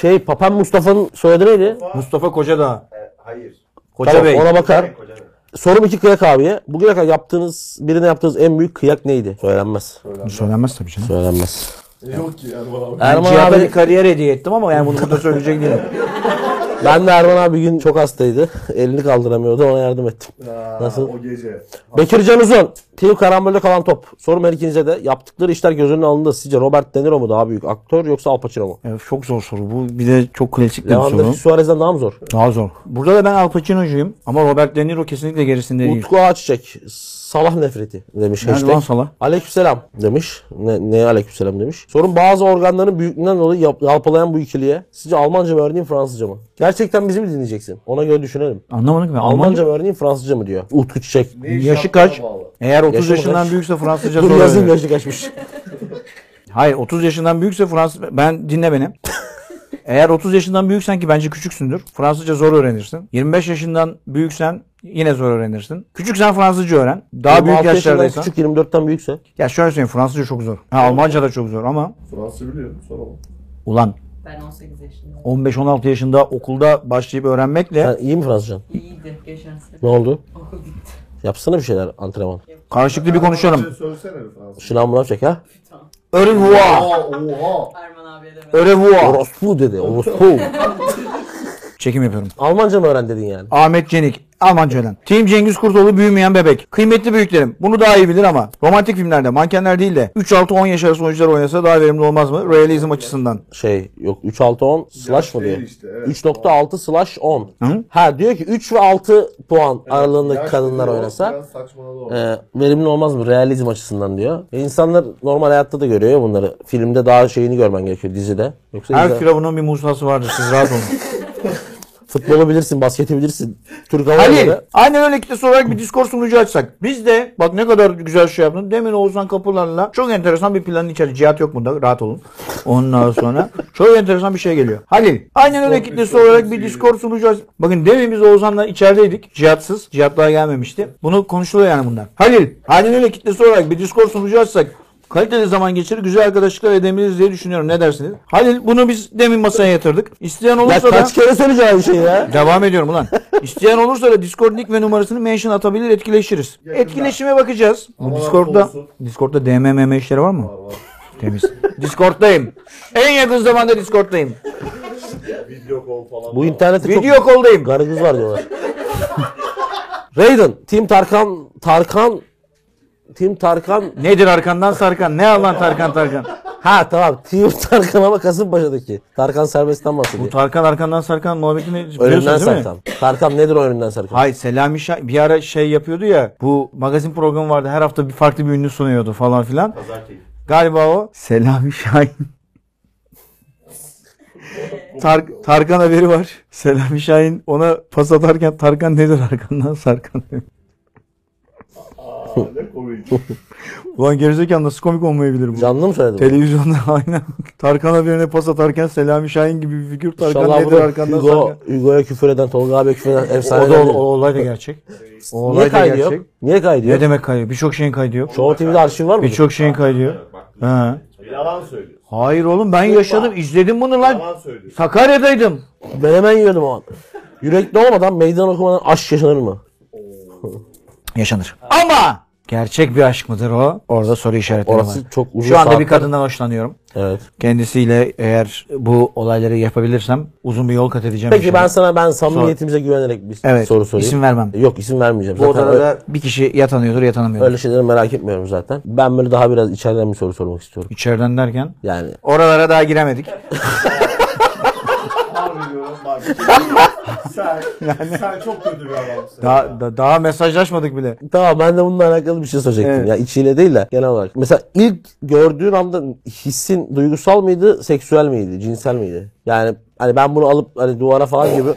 Şey Papen Mustafa'nın soyadı neydi?
Mustafa Kocadağ.
Hayır.
Koca
Tamam,
Bey.
ona bakar.
Koca Bey.
Sorum iki kıyak abiye. Bugüne kadar yaptığınız, birine yaptığınız en büyük kıyak neydi? Söylenmez.
Söylenmez tabii canım.
Söylenmez.
Yok ki Erman abi.
Erman
Cihat'a
abi
bir kariyer hediye ettim ama yani bunu burada söyleyecek değilim.
Ben de Erman abi bir gün çok hastaydı. Elini kaldıramıyordu. Ona yardım ettim.
Aa,
Nasıl?
O gece.
Bekircan Uzun. Team karambolde kalan top. Sorum her ikinize de. Yaptıkları işler gözünün alındı. Sizce Robert De Niro mu daha büyük aktör yoksa Al Pacino mu?
Evet, çok zor soru. Bu bir de çok klasik bir soru.
Lewandowski Suarez'den daha mı zor?
Daha zor. Burada da ben Al Pacino'cuyum ama Robert De Niro kesinlikle gerisinde değil.
Utku Ağaççek. Salah nefreti demiş
Nerede
hashtag.
lan Salah?
Aleykümselam demiş. Ne, neye aleykümselam demiş. Sorun bazı organların büyüklüğünden dolayı yap- yalpalayan bu ikiliye. Sizce Almanca mı örneğin Fransızca mı? Gerçekten bizi mi dinleyeceksin? Ona göre düşünelim.
Anlamadım ki ben.
Almanca
Almanca
mı örneğin Fransızca mı diyor. Utku Çiçek.
Yaşı kaç? Eğer 30
Yaşı mı
yaşından
kaç?
büyükse Fransızca
Dur
zor
yazın
öğrenir.
yaşı kaçmış.
Hayır 30 yaşından büyükse Fransız... Ben dinle beni. Eğer 30 yaşından büyüksen ki bence küçüksündür. Fransızca zor öğrenirsin. 25 yaşından büyüksen yine zor öğrenirsin. Küçüksen Fransızca öğren. Daha
26
büyük
yaşından
yaşlardaysan.
Küçük 24'ten büyükse.
Ya şöyle söyleyeyim Fransızca çok zor. Ha, Almanca da çok zor ama
Fransız biliyorum soralım.
ulan
Ben 18 yaşındayım.
15-16 yaşında okulda başlayıp öğrenmekle
Sen iyi mi Fransızcan?
İyiydi geçen sene.
Ne oldu?
Okul gitti.
Yapsana bir şeyler antrenman.
karşılıklı bir
Şey
konuşalım.
söylesene bir Fransız.
Şınav mınav çek ha.
Örevua.
Aa, oha.
Erman abiye de ben.
Örevua.
Orospu dedi. Orospu.
Çekim yapıyorum.
Almanca mı öğren dedin yani?
Ahmet Cenik. Almanca ölen. Team Cengiz Kurtoğlu büyümeyen bebek. Kıymetli büyüklerim. Bunu daha iyi bilir ama. Romantik filmlerde mankenler değil de 3-6-10 yaş arası oyuncular oynasa daha verimli olmaz mı? Realizm açısından.
Şey yok 3 6 10 slash mı
değil
diyor?
işte, evet.
3.6 slash 10.
Hı?
Ha diyor ki 3 ve 6 puan aralığındaki
Yaş
kadınlar
dediği o
oynasa
Biraz saçmaladı o.
e, verimli olmaz mı realizm açısından diyor. E, insanlar normal hayatta da görüyor ya bunları. Filmde daha şeyini görmen gerekiyor dizide. Yoksa
Her
izle-
firavunun bir musası vardır. Siz rahat olun.
futbolu bilirsin, basketi bilirsin. Türk Hava
Halil.
Yolları-
Aynen öyle kitlesi olarak bir Discord sunucu açsak. Biz de bak ne kadar güzel şey yaptın. Demin Oğuzhan Kapılar'la çok enteresan bir planın içeri. Cihat yok bunda. Rahat olun. Ondan sonra çok enteresan bir şey geliyor. Halil. Aynen öyle kitlesi olarak bir Discord sunucu açsak. Bakın demin biz Oğuzhan'la içerideydik. Cihatsız. Cihat daha gelmemişti. Bunu konuşuluyor yani bunlar. Halil. Aynen öyle kitlesi olarak bir Discord sunucu açsak. Kaliteli zaman geçirir, güzel arkadaşlıklar edebiliriz diye düşünüyorum. Ne dersiniz? Halil bunu biz demin masaya yatırdık. İsteyen olursa
Ya
da...
kaç kere söyleyeceğim bir şey ya?
Devam ediyorum ulan. İsteyen olursa da Discord nick ve numarasını mention atabilir etkileşiriz. Etkileşime bakacağız. Bu
Ama
Discord'da
olsun.
Discord'da DMMM işleri var mı? Temiz. Discord'dayım. En yakın zamanda Discord'dayım.
Video call falan.
Bu internette çok
Video call'dayım.
garajımız var diyorlar. Raiden, Team Tarkan, Tarkan, Team Tarkan
Nedir arkandan sarkan? Ne alan Tarkan Tarkan?
Ha tamam. Team Tarkan ama Kasımpaşa'daki. Tarkan serbestten bahsediyor.
Bu Tarkan arkandan sarkan muhabbetini biliyorsunuz
Önünden
değil mi?
Sarkan. Tarkan nedir o önünden Sarkan?
Hayır Selami Şah bir ara şey yapıyordu ya bu magazin programı vardı her hafta bir farklı bir ünlü sunuyordu falan filan.
Pazar keyfi.
Galiba o Selami Şahin. Tar- Tarkan haberi var. Selami Şahin ona pas atarken Tarkan nedir arkandan sarkan.
Aa, ne komik.
Ulan gerizekalı nasıl komik olmayabilir bu?
Canlı mı söyledi? bu?
Televizyonda aynen. Tarkan haberine pas atarken Selami Şahin gibi bir figür Tarkan
İnşallah
nedir
bunu
arkandan
Hugo,
sarkan.
Hugo'ya küfür eden, Tolga abiye küfür eden efsane
O, da, o, o olay da gerçek. O
Niye
olay da
kaydı yok?
gerçek.
Niye kaydı
Ne
yok?
demek kaydı? Birçok şeyin kaydı yok.
Show TV'de arşiv var mı?
Birçok şeyin kaydı yok.
Bak
Ha.
Yalan söylüyor.
Hayır oğlum
Şey
ben yaşadım. izledim bunu lan.
Yalan söylüyor.
Sakarya'daydım.
Ben hemen yiyordum o an. Yürekli olmadan meydan okumadan aşk yaşanır mı?
yaşanır. Ama gerçek bir aşk mıdır o? Orada soru işaretleri
Orası
var.
çok uzun
Şu anda bir
saatler-
kadından hoşlanıyorum.
Evet.
Kendisiyle eğer bu olayları yapabilirsem uzun bir yol kat edeceğim.
Peki
inşallah.
ben sana ben samimiyetimize güvenerek bir
evet,
soru sorayım.
isim vermem.
Yok isim vermeyeceğim.
Bu
Zaten
odada
öyle-
da bir kişi ya tanıyordur ya tanımıyordur.
öyle şeyleri merak etmiyorum zaten. Ben böyle daha biraz içeriden bir soru sormak istiyorum.
İçeriden derken
Yani
oralara daha giremedik.
Harbi diyorum bak. sen, sen çok kötü bir adamsın.
Daha, da- daha mesajlaşmadık bile.
Tamam ben de bununla alakalı bir şey soracaktım.
Evet.
Ya içiyle değil de genel olarak. Mesela ilk gördüğün anda hissin duygusal mıydı, seksüel miydi, cinsel miydi? Yani hani ben bunu alıp hani duvara falan gibi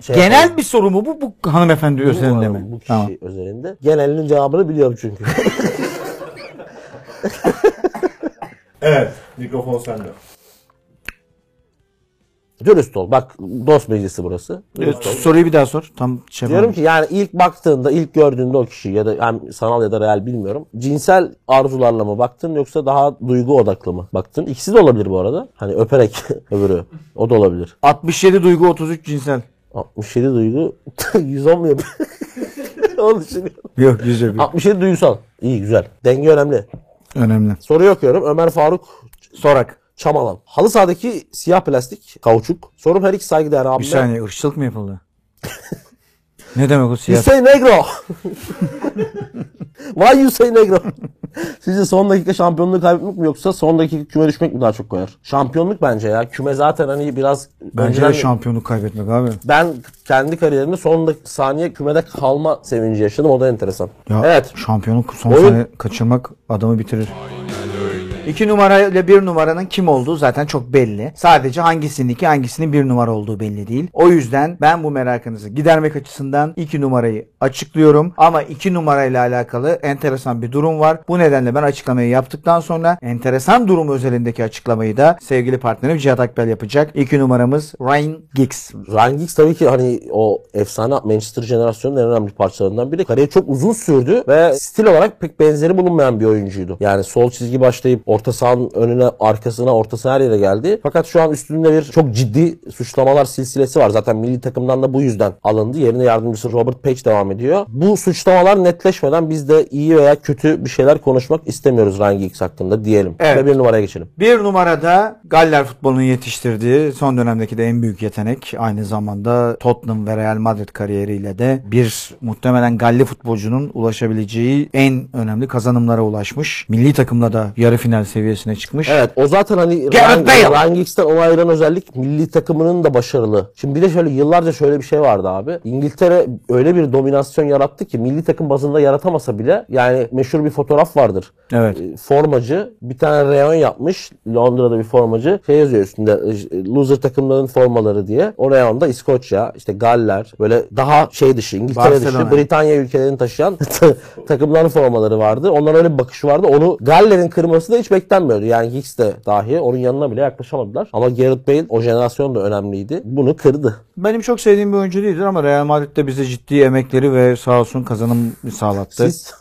Şey yapayım.
Genel bir soru mu bu, bu hanımefendi özelinde mi?
Bu kişi
Tamam.
özelinde. Genelinin cevabını biliyorum çünkü.
Evet. Mikrofon sende.
Dürüst ol. Bak dost meclisi burası. Dürüst ol.
E, Soruyu bir daha sor. Tam şey
Diyorum ki yani ilk baktığında, ilk gördüğünde o kişi ya da hem sanal ya da real bilmiyorum. Cinsel arzularla mı baktın yoksa daha duygu odaklı mı baktın? İkisi de olabilir bu arada. Hani öperek öbürü. O da olabilir.
67 duygu 33 cinsel.
67 duygu 110 mu yapıyor? Onu düşünüyorum.
Yok yüz yok.
67 duygusal. İyi güzel. Denge önemli.
Önemli.
Soruyu okuyorum. Ömer Faruk
Sorak.
Çamalan. Halı sahadaki siyah plastik kauçuk. Sorum her iki saygıdeğer
Bir
abime.
saniye ırkçılık mı yapıldı? ne demek o
You
siyasi?
say negro. Why you say negro? Sizce son dakika şampiyonluğu kaybetmek mi yoksa son dakika küme düşmek mi daha çok koyar? Şampiyonluk bence ya. Küme zaten hani biraz
Bence
önceden-
de şampiyonluk kaybetmek abi.
Ben saniye kariyerimde son dak- saniye kümede kalma sevinci yaşadım. O da enteresan.
Ya
Evet.
şampiyonluk son
Oyun-
saniye kaçırmak adamı bitirir. İki numara ile bir numaranın kim olduğu zaten çok belli. Sadece hangisinin iki hangisinin bir numara olduğu belli değil. O yüzden ben bu merakınızı gidermek açısından iki numarayı açıklıyorum. Ama iki numarayla alakalı enteresan bir durum var. Bu nedenle ben açıklamayı yaptıktan sonra enteresan durum özelindeki açıklamayı da sevgili partnerim Cihat Akbel yapacak. İki numaramız Ryan Giggs.
Ryan Giggs tabii ki hani o efsane Manchester jenerasyonunun en önemli parçalarından biri. Kariyer çok uzun sürdü ve stil olarak pek benzeri bulunmayan bir oyuncuydu. Yani sol çizgi başlayıp orta sahanın önüne, arkasına, orta saha her yere geldi. Fakat şu an üstünde bir çok ciddi suçlamalar silsilesi var. Zaten milli takımdan da bu yüzden alındı. Yerine yardımcısı Robert Page devam ediyor. Bu suçlamalar netleşmeden biz de iyi veya kötü bir şeyler konuşmak istemiyoruz Ryan Giggs hakkında diyelim.
Evet.
Ve bir numaraya geçelim.
Bir numarada Galler futbolunun yetiştirdiği son dönemdeki de en büyük yetenek aynı zamanda Tottenham ve Real Madrid kariyeriyle de bir muhtemelen Galli futbolcunun ulaşabileceği en önemli kazanımlara ulaşmış. Milli takımla da yarı final seviyesine çıkmış.
Evet o zaten hani
Gareth Bale.
Ryan, Ryan Giggs'ten onu ayıran özellik milli takımının da başarılı. Şimdi bir de şöyle yıllarca şöyle bir şey vardı abi. İngiltere öyle bir dominasyon yarattı ki milli takım bazında yaratamasa bile yani meşhur bir fotoğraf vardır.
Evet.
E, Formacı bir tane reyon yapmış Londra'da bir formacı şey yazıyor üstünde e, loser takımların formaları diye. O reyonda İskoçya işte Galler böyle daha şey dışı İngiltere
Barcelona.
dışı Britanya ülkelerini taşıyan takımların formaları vardı. Onların öyle bir bakışı vardı. Onu Galler'in kırması da hiç beklenmiyordu. Yani Hicks de dahi onun yanına bile yaklaşamadılar. Ama Gareth Bale o jenerasyon da önemliydi. Bunu kırdı.
Benim çok sevdiğim bir oyuncu değildir ama Real Madrid'de bize ciddi emekleri ve sağ olsun kazanım sağlattı.
Siz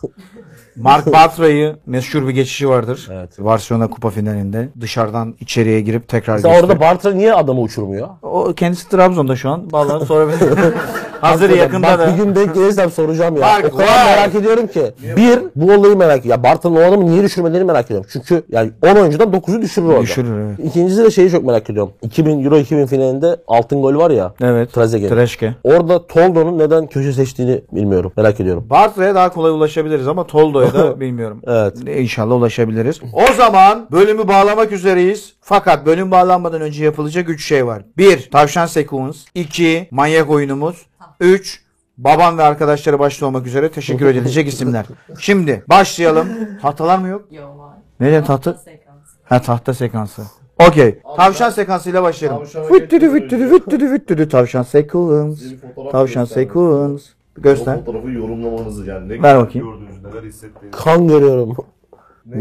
Mark Bartra'yı meşhur bir geçişi vardır.
Evet.
Barcelona Kupa finalinde dışarıdan içeriye girip tekrar
Mesela
geçti.
orada Bartra niye adamı uçurmuyor?
O kendisi Trabzon'da şu an. Vallahi sonra hazır yakında
Bak
da.
bir gün denk gelirsem soracağım ya.
Bak,
o kadar
vay.
merak ediyorum ki. Bir, bu olayı merak ediyorum. Ya Bartın'ın o adamı niye düşürmelerini merak ediyorum. Çünkü yani 10 oyuncudan 9'u düşürür orada.
Düşürür, evet.
İkincisi de şeyi çok merak ediyorum. 2000 Euro 2000 finalinde altın gol var ya.
Evet.
Trezeguet.
Treşke.
Orada Toldo'nun neden köşe seçtiğini bilmiyorum. Merak ediyorum.
Bartra'ya daha kolay ulaşabiliriz ama Toldo'ya da bilmiyorum.
Evet.
İnşallah ulaşabiliriz. O zaman bölümü bağlamak üzereyiz. Fakat bölüm bağlanmadan önce yapılacak 3 şey var. 1. Tavşan Sekuans. 2. Manyak oyunumuz. 3. Babam ve arkadaşları başta olmak üzere teşekkür edilecek isimler. Şimdi başlayalım. Tahtalar mı yok?
Yo var.
Neden tahta?
Sekans.
Ha tahta sekansı. Okey. Tavşan sekansıyla başlayalım.
Tavşan
Vüttüdü
hareketi
vüttüdü vüttüdü vüttüdü tavşan sekans.
Bir fotoğraf
Tavşan
göstermek
sekans.
istiyorum.
Göster.
O fotoğrafı yorumlamanızı yani. Ne
Ver bakayım.
Gördüğünüz neler hissettiğiniz.
Kan görüyorum.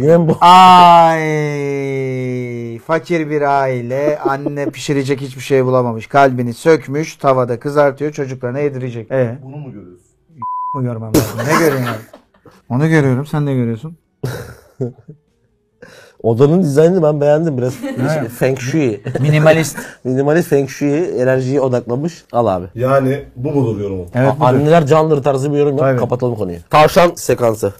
Yine bu.
Ay fakir bir aile anne pişirecek hiçbir şey bulamamış. Kalbini sökmüş tavada kızartıyor çocuklarına yedirecek. E
Bunu mu görüyorsun?
mu görmem lazım? Ne görüyorsun? abi? Onu görüyorum sen ne görüyorsun?
Odanın dizaynını ben beğendim biraz. şey, Feng Shui.
Minimalist.
Minimalist Feng Shui enerjiyi odaklamış. Al abi.
Yani bu mudur yorumu?
Evet
A- anneler candır tarzı bir yorum yap. Kapatalım konuyu. Tavşan sekansı.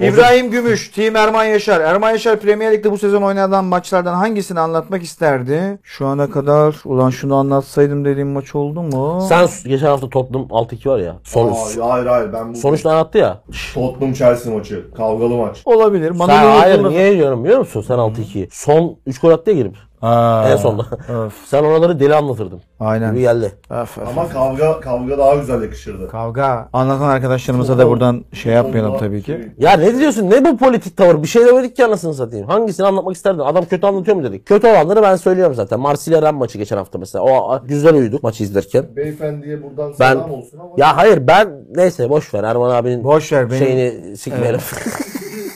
İbrahim Gümüş, Team Erman Yaşar. Erman Yaşar Premier Lig'de bu sezon oynanan maçlardan hangisini anlatmak isterdi? Şu ana kadar ulan şunu anlatsaydım dediğim maç oldu mu?
Sen s- geçen hafta Tottenham 6-2 var ya. Son,
Hayır hayır, hayır ben bu
sonuçta anlattı ya.
Tottenham Chelsea maçı kavgalı maç.
Olabilir. Bana
Sen,
bunu
hayır
hatırlat-
niye diyorum biliyor musun? Sen 6-2. Son 3 gol attı ya girip.
Aa,
en sonda.
öf.
Sen oraları deli anlatırdın. Gibi
Aynen.
geldi.
Öf, öf.
Ama kavga kavga daha güzel yakışırdı.
Kavga. Anlatan arkadaşlarımıza da buradan şey yapmayalım tabii ki.
Ya ne diyorsun? Ne bu politik tavır? Bir şey demedik ki anasını satayım. Hangisini anlatmak isterdin? Adam kötü anlatıyor mu dedik? Kötü olanları ben söylüyorum zaten. Marsilya Ren maçı geçen hafta mesela. O a- güzel uyuduk maçı izlerken.
Beyefendiye buradan
Ben-
selam olsun ama
Ya hayır ben neyse boş ver Erman abinin
Boş ver beni.
şeyini sikmeyelim.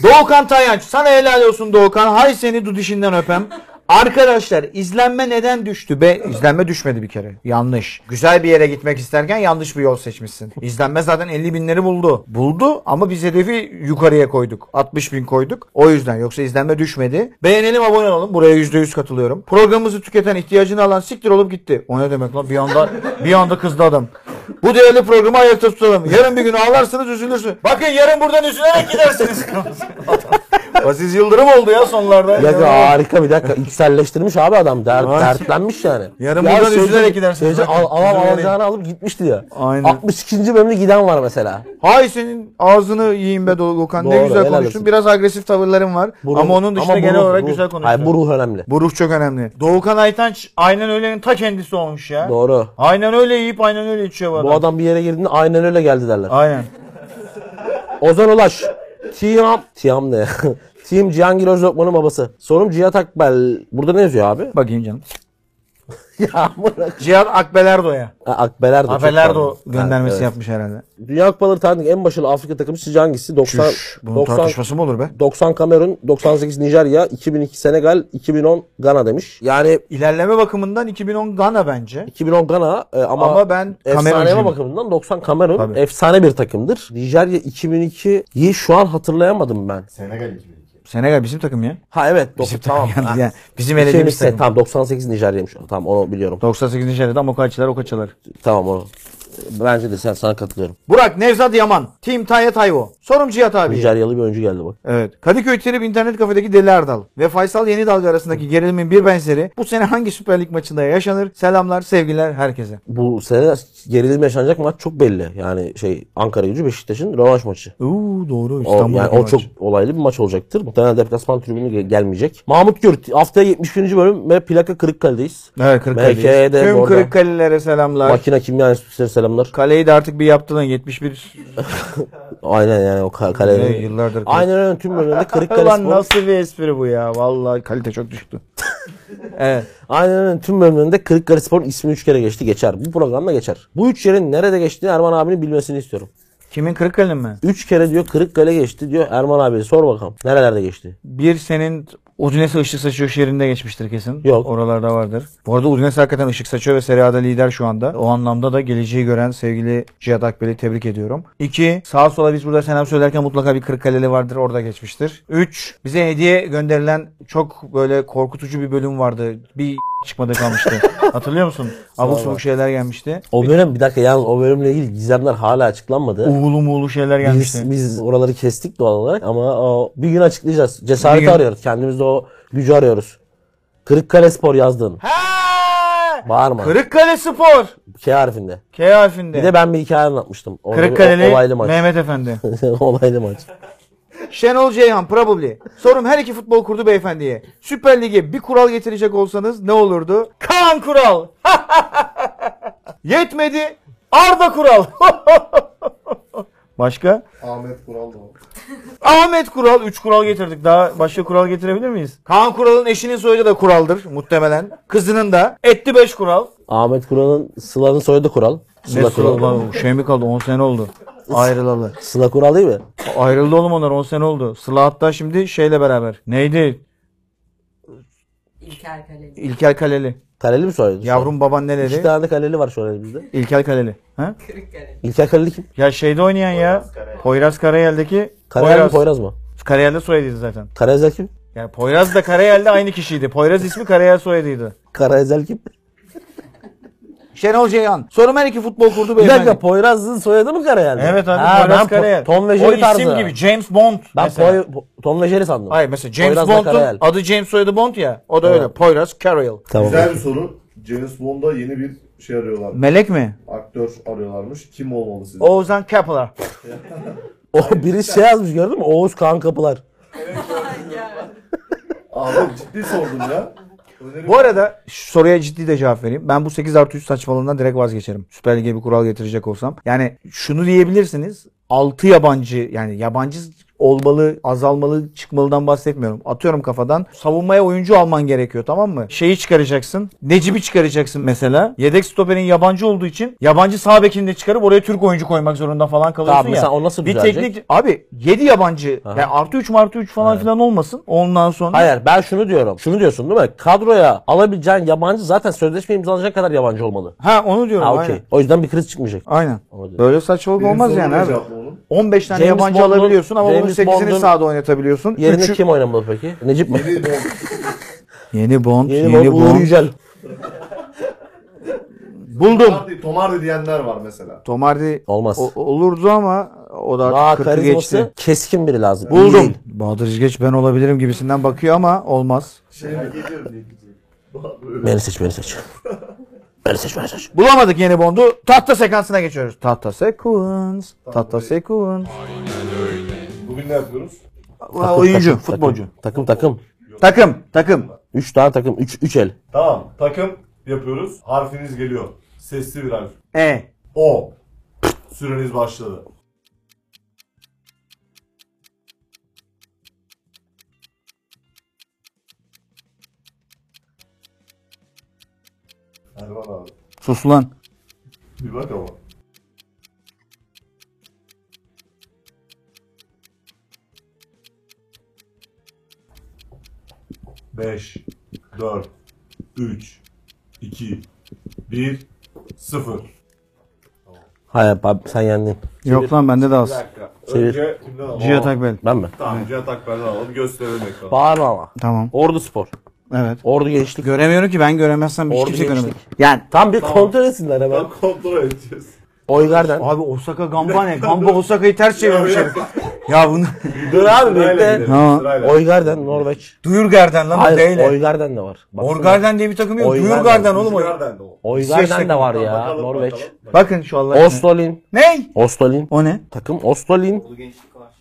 Doğukan Tayanç sana helal olsun Doğukan. Hay seni dudişinden öpem. Arkadaşlar izlenme neden düştü be? İzlenme düşmedi bir kere. Yanlış. Güzel bir yere gitmek isterken yanlış bir yol seçmişsin. İzlenme zaten 50 binleri buldu. Buldu ama biz hedefi yukarıya koyduk. 60 bin koyduk. O yüzden yoksa izlenme düşmedi. Beğenelim abone olalım. Buraya %100 katılıyorum. Programımızı tüketen ihtiyacını alan siktir olup gitti. O ne demek lan? Bir anda, bir anda kızdı adam. Bu değerli programı ayakta tutalım. Yarın bir gün ağlarsınız üzülürsünüz. Bakın yarın buradan üzülerek gidersiniz. Aziz Yıldırım oldu ya sonlarda.
ya da harika bir dakika içselleştirmiş abi adam Der,
Vay.
dertlenmiş yani.
Yarın
Ya
buradan
sözü-
üzülerek gidersin.
sözü
Bakın,
al, alan
üzülerek.
alacağını alıp gitmişti ya.
Aynen.
62. bölümde giden var mesela.
Hay senin ağzını yiyeyim be Doğukan. Ne
Doğru,
güzel
helal
konuştun.
olsun.
Biraz agresif tavırların var.
Bu
ama
ruh-
onun dışında
ama bu
genel
ruh-
olarak
ruh-
güzel konuştun.
Hayır bu ruh önemli.
Bu ruh çok önemli. Doğukan Aytanç aynen öylenin ta kendisi olmuş ya.
Doğru.
Aynen öyle yiyip aynen öyle içiyor bu adam.
Bu adam bir yere girdiğinde aynen öyle geldi derler.
Aynen.
Ozan Ulaş. Tiam. Tiam ne ya? Tiam Cihangir Özdokman'ın babası. Sorum Cihat Akbel. Burada ne yazıyor abi?
Bakayım canım.
ya bırak.
Cihat Akbelerdo'ya.
Ha, Akbelerdo. çok
Akbelerdo
pardon.
göndermesi
Ha, evet.
yapmış herhalde.
Dünya Kupaları tarihindeki en başarılı Afrika takımı sizce hangisi? 90,
Çüş. Bunun
90,
tartışması mı olur be?
90 Kamerun, 98 Nijerya, 2002 Senegal, 2010 Gana demiş. Yani
İlerleme bakımından 2010 Gana bence.
2010 Gana e, ama,
Ama ben
efsaneye
Kameruncuyum.
bakımından 90 Kamerun
Tabii.
efsane bir takımdır. Nijerya 2002'yi şu an hatırlayamadım ben.
Senegal 2002.
Senegal bizim takım ya.
Ha evet.
Bizim
90, tamam. şey
takım
Ha,
yani. Bizim
İki
elediğimiz
elbise.
takım.
Tamam 98 Nijerya'ymış. o. Tamam onu biliyorum.
98. şeride ama kaçlar o kaçalar.
Tamam onu. Bence de sen sana katılıyorum.
Burak Nevzat Yaman. Team Taya Tayvo. Sorum Cihat abi.
Nijeryalı bir oyuncu geldi bak.
Evet. Kadıköy Trip internet kafedeki Deli Erdal ve Faysal Yeni Dalga arasındaki gerilimin bir benzeri bu sene hangi Süper Lig maçında yaşanır? Selamlar, sevgiler herkese.
Bu sene gerilim yaşanacak maç çok belli. Yani şey Ankara gücü Beşiktaş'ın rövanş maçı.
Oo doğru
O, yani o çok olaylı bir maç olacaktır. Muhtemelen deplasman tribünü ge- gelmeyecek. Mahmut Gürt haftaya 71. bölüm ve plaka Kırıkkale'deyiz.
Evet Kırıkkale'deyiz.
MK'de
Tüm
orada.
Kırıkkalilere selamlar.
Makine Kimya Enstitüsü'ne selamlar.
Kaleyi de artık bir yaptılar 71.
Aynen yani o ka-
Ne,
kale.
yıllardır.
Aynen öyle tüm bölümde Kırıkkale
Ulan
Spor.
nasıl bir espri bu ya? Vallahi kalite çok düştü. evet.
Aynen öyle. Tüm bölümlerinde Kırıkkale Spor'un ismi 3 kere geçti. Geçer. Bu programda geçer. Bu üç yerin nerede geçtiğini Erman abinin bilmesini istiyorum.
Kimin Kırıkkale'nin mi?
3 kere diyor Kırıkkale geçti diyor Erman abi. Sor bakalım. Nerelerde geçti?
Bir senin Udinese ışık saçıyor şehrinde geçmiştir kesin.
Yok.
Oralarda vardır. Bu arada Udinese hakikaten ışık saçıyor ve Serie A'da lider şu anda. O anlamda da geleceği gören sevgili Cihat Akbel'i tebrik ediyorum. İki, sağa sola biz burada selam söylerken mutlaka bir Kırıkkaleli vardır. Orada geçmiştir. Üç, bize hediye gönderilen çok böyle korkutucu bir bölüm vardı. Bir çıkmadı kalmıştı. Hatırlıyor musun? Abuk sabuk şeyler gelmişti.
O bölüm bir dakika yalnız o bölümle ilgili gizemler hala açıklanmadı.
Uğulu muğulu şeyler gelmişti.
Biz, biz oraları kestik doğal olarak ama o, bir gün açıklayacağız. Cesareti
Bir gün.
arıyoruz. Kendimizde o gücü arıyoruz. Kırıkkale Spor yazdın.
Ha!
Bağırma.
Kırıkkale Spor.
K harfinde.
K harfinde.
Bir de ben bir hikaye anlatmıştım. Orada bir o-
Kırıkkaleli
olaylı maç.
Mehmet Efendi.
olaylı maç.
Şenol Ceyhan probably. Sorum her iki futbol kurdu beyefendiye. Süper Lig'e bir kural getirecek olsanız ne olurdu? Kaan Kural. Yetmedi. Arda Kural. Başka?
Ahmet Kural da var.
Ahmet Kural. Üç kural getirdik. Daha başka kural getirebilir miyiz? Kaan Kural'ın eşinin soyadı da kuraldır muhtemelen. Kızının da. Etti beş kural.
Ahmet Kural'ın Sıla'nın soyadı Kural. Sıla Kural.
Şey mi kaldı? 10 sene oldu. Ayrılalı.
Sıla Kural değil mi?
Ayrıldı oğlum onlar 10 sene oldu. Sıla hatta şimdi şeyle beraber. Neydi?
İlker Kaleli.
İlker Kaleli.
Kaleli mi soyadı?
Yavrum babaanneleri.
İki tane de kaleli var şu an elimizde.
İlker Kaleli. Ha?
Kırıkkale.
İlker Kaleli kim?
Ya şeyde oynayan ya. Poyraz Karayel'deki
Karayel mi
Poyraz.
Poyraz mı?
Karayel'de soyadıydı zaten.
Karaezel kim?
Yani Poyraz da Karayel'de aynı kişiydi. Poyraz ismi Karayel soyadıydı.
Karaezel kim?
Şenol Ceyhan. Sonra her iki futbol kurdu
Bir
beyefendi.
dakika Poyraz'ın soyadı mı Karayel?
Evet abi
Ha,
Poyraz
ben Po-
Karayel.
Tom ve
o
Jerry
isim
tarzı.
gibi James Bond
Ben
mesela.
Poy- Po- Tom ve Jerry sandım.
Hayır mesela James
Poyraz da Karayel.
Bond'un adı James soyadı Bond ya. O da
Evet.
öyle. Poyraz Carroll.
Tamam.
Güzel bir soru. James Bond'a yeni bir şey arıyorlar.
Melek mi?
Aktör arıyorlarmış. Kim olmalı sizce?
Oğuzhan Kepler.
O biri şey yazmış gördün mü? Oğuz Kağan Kapılar.
Abi ciddi sordum ya. Önerim-
Bu arada şu soruya ciddi de cevap vereyim. Ben bu 8 artı 3 saçmalığından direkt vazgeçerim. Süper Lig'e bir kural getirecek olsam. Yani şunu diyebilirsiniz. 6 yabancı yani yabancı olmalı, azalmalı, çıkmalıdan bahsetmiyorum. Atıyorum kafadan. Savunmaya oyuncu alman gerekiyor tamam mı? Şeyi çıkaracaksın. Necip'i çıkaracaksın mesela. Yedek stoperin yabancı olduğu için yabancı sağ bekini de çıkarıp oraya Türk oyuncu koymak zorunda falan kalıyorsun
Tamam,
ya.
mesela o nasıl
bir
düzelecek?
teknik abi 7 yabancı yani artı 3 artı 3 falan filan olmasın. Ondan sonra
Hayır ben şunu diyorum. Şunu diyorsun değil mi? Kadroya alabileceğin yabancı zaten sözleşme imzalanacak kadar yabancı olmalı.
Ha onu diyorum.
Ha
aynen.
okey. O yüzden bir kriz çıkmayacak.
Aynen.
Olabilir.
Böyle saçmalık
Benim
olmaz
sorum
yani
ne
abi.
cevaplı oğlum?
15 tane
James
yabancı
Bond'un-
alabiliyorsun ama bunun
James
8'ini
Bond'un
sahada oynatabiliyorsun.
Yerine
Üçü-
kim oynamalı peki? Necip mi? Yeni,
Yeni Bond, yeni,
Bond, Uğur
Bond.
Yücel.
Buldum.
Tomardi, Tomardi diyenler var mesela.
Tomardi
Olmaz.
o- olurdu ama o da
Daha
artık 40'ı
karizması
geçti.
keskin biri lazım. İyi
Buldum.
değil.
Bahadır Yüzgeç ben olabilirim gibisinden bakıyor ama olmaz.
Şey mi?
Beni seç beni seç. beni seç beni seç.
Bulamadık yeni Bond'u. Tahta sekansına geçiyoruz. Tahta sekans. Tahta sekans.
Bugün ne yapıyoruz?
Takım,
Oyuncu,
takım,
futbolcu.
Takım takım.
Takım, takım.
Üç tane takım. Üç, üç el.
Tamam. Takım yapıyoruz. Harfiniz geliyor. Sesli bir harf.
E.
O. Süreniz başladı. Erman abi.
Sus lan.
Bir bak ama. Beş, dört, üç, iki, bir, sıfır.
Hayır abi sen yendin.
Yok lan bende de
Bir
az.
dakika.
Çevir.
Önce kimden alalım?
Cihat Akbel.
Ben mi?
Tamam Cihat Akber'den alalım. Gösterelim ekranı.
Bağırma ama.
Tamam.
Ordu spor.
Evet.
Ordu gençlik.
Göremiyorum ki ben göremezsem şey hiç
Ordu
kimse
gençlik.
göremez. Yani
Tam bir kontrol etsinler hemen.
Ben kontrol edeceğiz.
Oygar'dan.
Abi Osaka Gamba ne? Gamba Osaka'yı ters
Şey,
çevirmiş herif. Ya bunu
Dur
abi, bekle.
Ha.
Sırayla.
Oygar'dan Norveç.
Duyurgarden lan o
Hayır
değil.
Oygar'dan da var. Baksana.
Orgarden diye bir takım yok.
Oygarden.
Duyurgarden oğlum o.
Nereden de o?
Oygar'dan da var
Tamam,
ya.
bakalım,
Norveç.
bakalım.
Bakın şu Allah.
Ostolin.
Ne?
Ostolin.
O ne?
Takım Ostolin.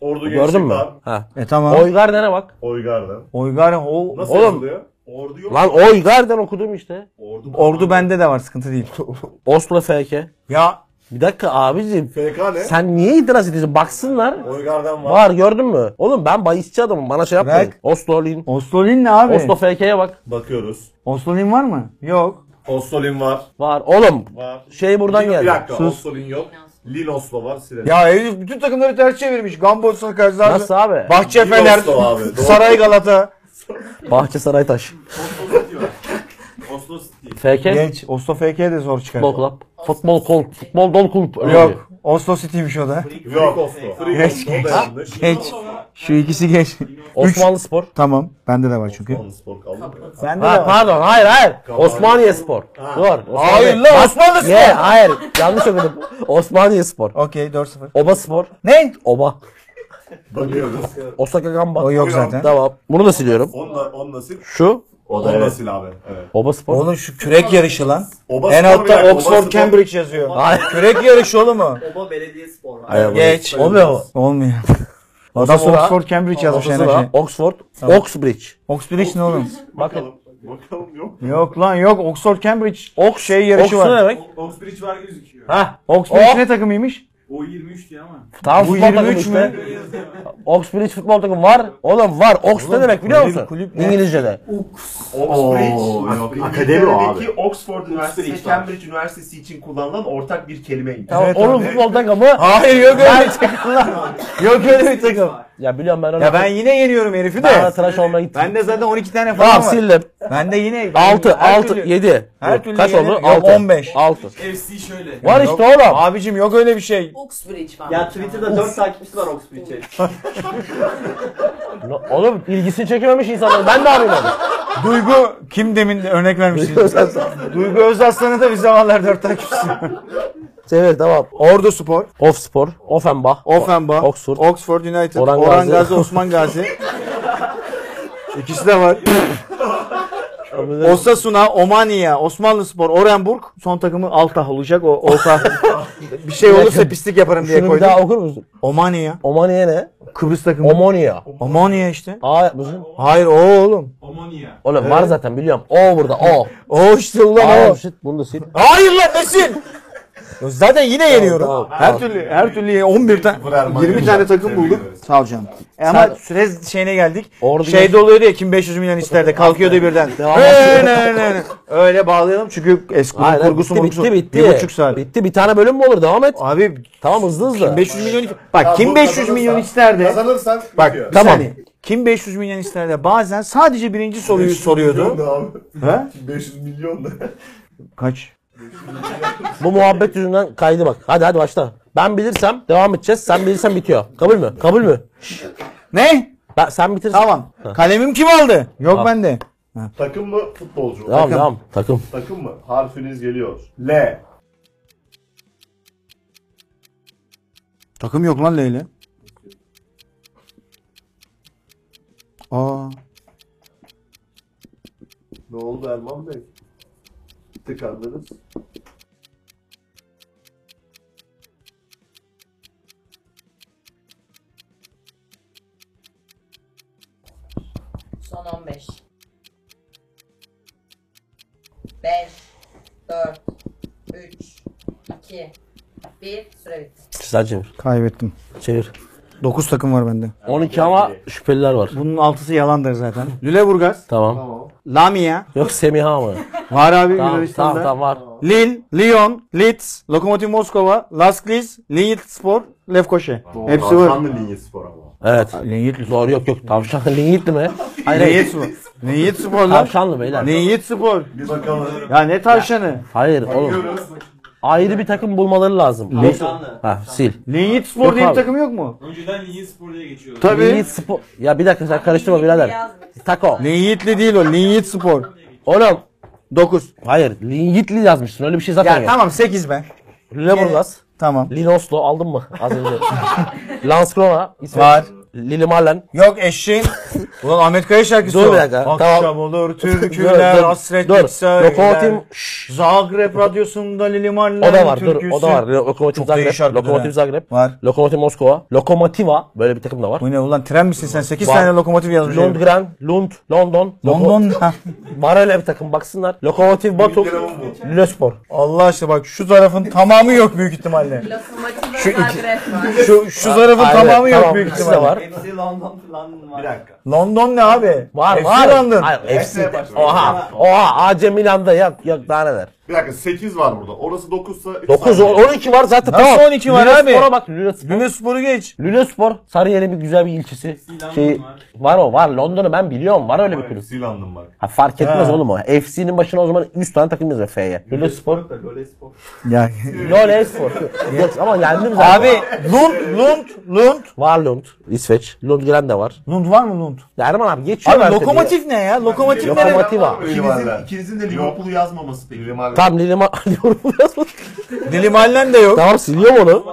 Ordu
Gördün
Gençlik
mü?
var.
Ha.
E tamam.
Oygar'dan'a bak.
Oygar'dan.
Oygarden o
Nasıl
Oğlum.
yazılıyor? Ordu yok.
Lan Oygar'dan okudum işte.
Ordu.
Ordu bende de var sıkıntı değil.
Oslo FK.
ya
Bir dakika abicim.
FK ne?
Sen niye itiraz ediyorsun? Baksınlar.
Oygar'dan var.
Var gördün mü? Oğlin ben bayisçi adamım. Bana şey yapmayın.
Bırak.
Ostolin.
Oslolin ne abi?
Oslo FK'ye bak.
Bakıyoruz.
Oslolin var mı? Yok.
Ostolin var.
Var. Oğlum
Var.
şey buradan
Bir
geldi.
dakika.
Sus.
Ostolin yok. Lin Oslo var. Siren.
Ya herif bütün takımları ters çevirmiş. Gamba Osaka, Zaza-
Nasıl abi?
Bahçe Fener,
Oslo abi, doğru.
Saray Galata.
Bahçesaray Taş.
Oslo City var. Oslo City.
FK.
Geç. Oslo FK de zor çıkar.
Futbol kulüp. Futbol kulüp. Futbol don kulüp. Öyle diyor.
Yok. Oslo City'miş o da.
Yok. Oslo. Free
Geç,
Oslo. O da
geç.
yanlış.
Geç. Şu ikisi geç.
Osmanlı Spor.
Tamam. Bende de var çünkü.
Spor kaldı mı?
Bende
Ha, pardon hayır hayır. Osmaniye Spor. Dur. Osmaniye.
Hayır lan Osmanlı
Ye, hayır. Yanlış okudum. Osmaniye Spor.
Okey 4-0.
Oba Spor.
Ne?
Oba.
Bakıyoruz.
Osaka Gamba.
O yok zaten.
Tamam. Bunu da siliyorum.
Onunla, onunla sil.
Şu.
O da evet. sil abi. Evet.
Oba Spor.
Oğlum şu kürek yarışı lan.
Oba
en
spor bir
altta
dakika, oba
Oxford
spor.
Cambridge yazıyor.
Hayır.
kürek yarışı oğlum o.
Oba Belediye Spor var.
Hayır, bu-
Geç.
Olmuyor mu?
Olmuyor. Adam
sonra-
Oxford Cambridge yazmış en
Sonra
şey.
Oxford. Oxbridge.
Oxbridge ne oğlum?
Bakalım. Bakalım yok.
Yok lan yok Oxford Cambridge
Ox
şey yarışı
Ox ne
var.
demek?
Oxbridge var gözüküyor.
Ha.
Oxbridge
O-
ne takımıymış?
O 23 diyor ama.
Tamam
Bu
futbol takımı
23
işte.
mü?
Oxbridge futbol takımı var. Oğlum var. Ox ne demek biliyor
kulüp-
musun?
kulüp ne?
İngilizce'de.
Oxbridge. Akademi o abi. Oxford Üniversitesi,
Oxbridge var.
Cambridge Üniversitesi için kullanılan ortak bir kelimeymiş.
Tamam,
Evet
onun
abi.
futbol takımı.
Hayır yok öyle bir takım lan. Yok öyle bir takım.
Ya biliyorum ben onu.
Ya ben yine yeniyorum herifi
ben ona
de.
tıraş olmaya gittim.
Bende zaten 12 tane falan
Tamam
var.
sildim.
Bende yine.
6,
Her
6,
türlü-
7.
her türlü
Kaç
yedi.
oldu?
Yok,
6.
15.
6.
FC şöyle.
Var işte oğlum.
Abicim yok öyle bir şey.
Oxbridge var.
Ya Twitter'da 4 takipçisi var Oxbridge'e.
No- Oğlum ilgisini çekememiş insanlar. Ben de arayayım onu.
Duygu kim demin örnek vermişti? Duygu Özaslan'ı da bir zamanlar dört takipçisi.
Evet tamam.
Ordu Spor,
Ofspor, Offenbach,
Offenbach,
Oxford.
Oxford, United,
Orhan
Orhan,
Gazi.
Gazi. Osman Gazi. İkisi de var. Osasuna, Omania, Osmanlı Spor, Orenburg. Son takımı Altah olacak. O Altah bir şey olursa pislik yaparım diye
Şunu bir
koydum.
daha okur musun?
Omania.
Omaniye ne?
Kıbrıs takımı.
Omonia.
Omania işte.
A yapmışsın.
Hayır o oğlum.
Omonia.
Oğlum var zaten biliyorum. O burada O.
O işte ulan
Aa
o.
shit bunu da sil.
Hayır lan Nesin. Zaten yine yeniyorum.
tamam,
her türlü her türlü 11 tane
Brerman
20 tane takım
Tebrik
bulduk.
ederiz.
Sağ ol canım. E ama süre şeyine geldik.
Ordu
şey
yaş-
doluyordu ya kim 500 milyon ister de kalkıyordu birden. Ne, ne, ne, ne. Öyle bağlayalım çünkü eski
Hayır, hayır,
kurgusu
bitti,
murgusu
bitti bitti.
bir buçuk saat.
Bitti bir tane bölüm mü olur devam et.
Abi
Tamam hızlı hızlı.
500 milyon bak
Ya
kim
bu
500
kazanırsa-
milyon ister de
Kazanırsan
bak
bitiyor.
tamam.
Tamam.
Kim 500 milyon ister de bazen sadece birinci soruyu
500 milyon
soruyordu.
da abi.
He?
500 milyon da.
Kaç?
Bu muhabbet yüzünden kaydı bak. Hadi hadi başla. Ben bilirsem devam edeceğiz. Sen bilirsen bitiyor. Kabul mü? Kabul mü?
Ne?
Ben, sen bitirsen.
Tamam. Kalemim kim aldı? Yok bende.
Takım mı futbolcu? mu?
Tamam
Takım.
tamam. Takım.
Takım mı? Harfiniz geliyor. L.
Takım yok lan Leyla. Aa.
Ne oldu Erman Bey? Tıkandınız.
Son 15. 5, 4, 3, 2, 1. Süre bitti.
Sen çevir.
Kaybettim.
Çevir.
9 takım var bende.
12 ama şüpheliler var.
Bunun altısı yalandır zaten. Lüleburgaz,
Tamam.
Lamia,
Yok Semiha mı?
var abi
tamam tamam
Yunanistan'da.
tamam var.
Lille, Lyon, Leeds, Lokomotiv Moskova, Lasklis, Lille Spor, Lefkoşe. Hepsi var.
Kanlı linye spor ama.
Evet.
Lille
Doğru yok yok. Tavşan Lingitli mi?
Hayır, Spor. Lille Spor lan.
Tavşanlı beyler.
Lille Spor.
Bir bakalım.
Ya ne tavşanı?
Hayır oğlum. Ayrı bir takım bulmaları lazım. Ha sil.
Lille
Yok
Spor diye bir
abi.
takım yok mu?
Önceden Linyi Spor diye geçiyordu.
Tabii.
Lingit Spor. Ya bir dakika sen karıştırma birader. Tako.
Lille'li değil o. Lille Spor.
Oğlum.
9.
Hayır. Lingitli yazmışsın. Öyle bir şey zaten
Ya
yok.
tamam 8 ben.
Lüleburgaz.
Tamam.
Linoslo aldın mı az önce? Lanskrona. İsveç.
Var.
Lili Marlen.
Yok eşeğin. Ulan Ahmet Kaya şarkısı
Dur
o.
bir dakika,
Akşam
tamam.
olur
Dur,
türküler,
dur,
hasret
dur.
yükseler.
Lokomotiv
Zagreb radyosunda Lili Marlen
O da var.
türküsü.
Dur, o da var. Lokomotiv
Çok da iyi
Zagreb.
şarkıdır
Lokomotiv
ha.
Zagreb.
Var.
Lokomotiv Moskova. Lokomotiva. Böyle bir takım da var.
Bu ne ulan tren misin sen? 8
Var.
tane lokomotif yazmış. herif.
Lundgren, Lund, şey London. Loko-
London. ha.
Var öyle bir takım baksınlar. Lokomotiv Batum, Löspor.
Allah aşkına bak şu tarafın tamamı yok büyük ihtimalle.
Lokomotiva Zagreb var.
Şu şu tarafın
Aynen,
tamamı yok
tamam,
büyük
ikisi de
ihtimalle.
var.
Hepsi London falan var.
Bir dakika.
London ne abi?
Var
FC
var.
London.
Hayır, hepsi.
Hepsine başlıyor.
Oha. Oha. AC Milan'da yok yok daha neler.
Bir dakika 8 var burada. Orası 9'sa
9 12 var zaten.
Nasıl
tamam.
12 var abi?
Lülespor'a bak Lülespor'a.
Lülespor'u geç.
Lülespor Sarıyer'in bir güzel bir ilçesi. Şey, var o var. London'u ben biliyorum. Var öyle bir kulüp.
Silandım bak.
Ha, fark etmez oğlum o. FC'nin başına o zaman 100 tane takım yazıyor F'ye. Lülespor.
Lolespor.
Ya.
Lolespor. Yok ama yendim zaten.
abi Lund Lund Lund.
Var Lund. İsveç. Lundgren de var.
Lund var mı Lund?
Ya Erman abi geçiyor.
Abi
artık.
lokomotif ne ya? Lokomotif ne?
Lokomotiv- Lokomotiva.
İkinizin, ikinizin de Liverpool'u yazmaması peki.
Tam Lille'ma
Dilim halen de yok.
Tamam siliyorum onu.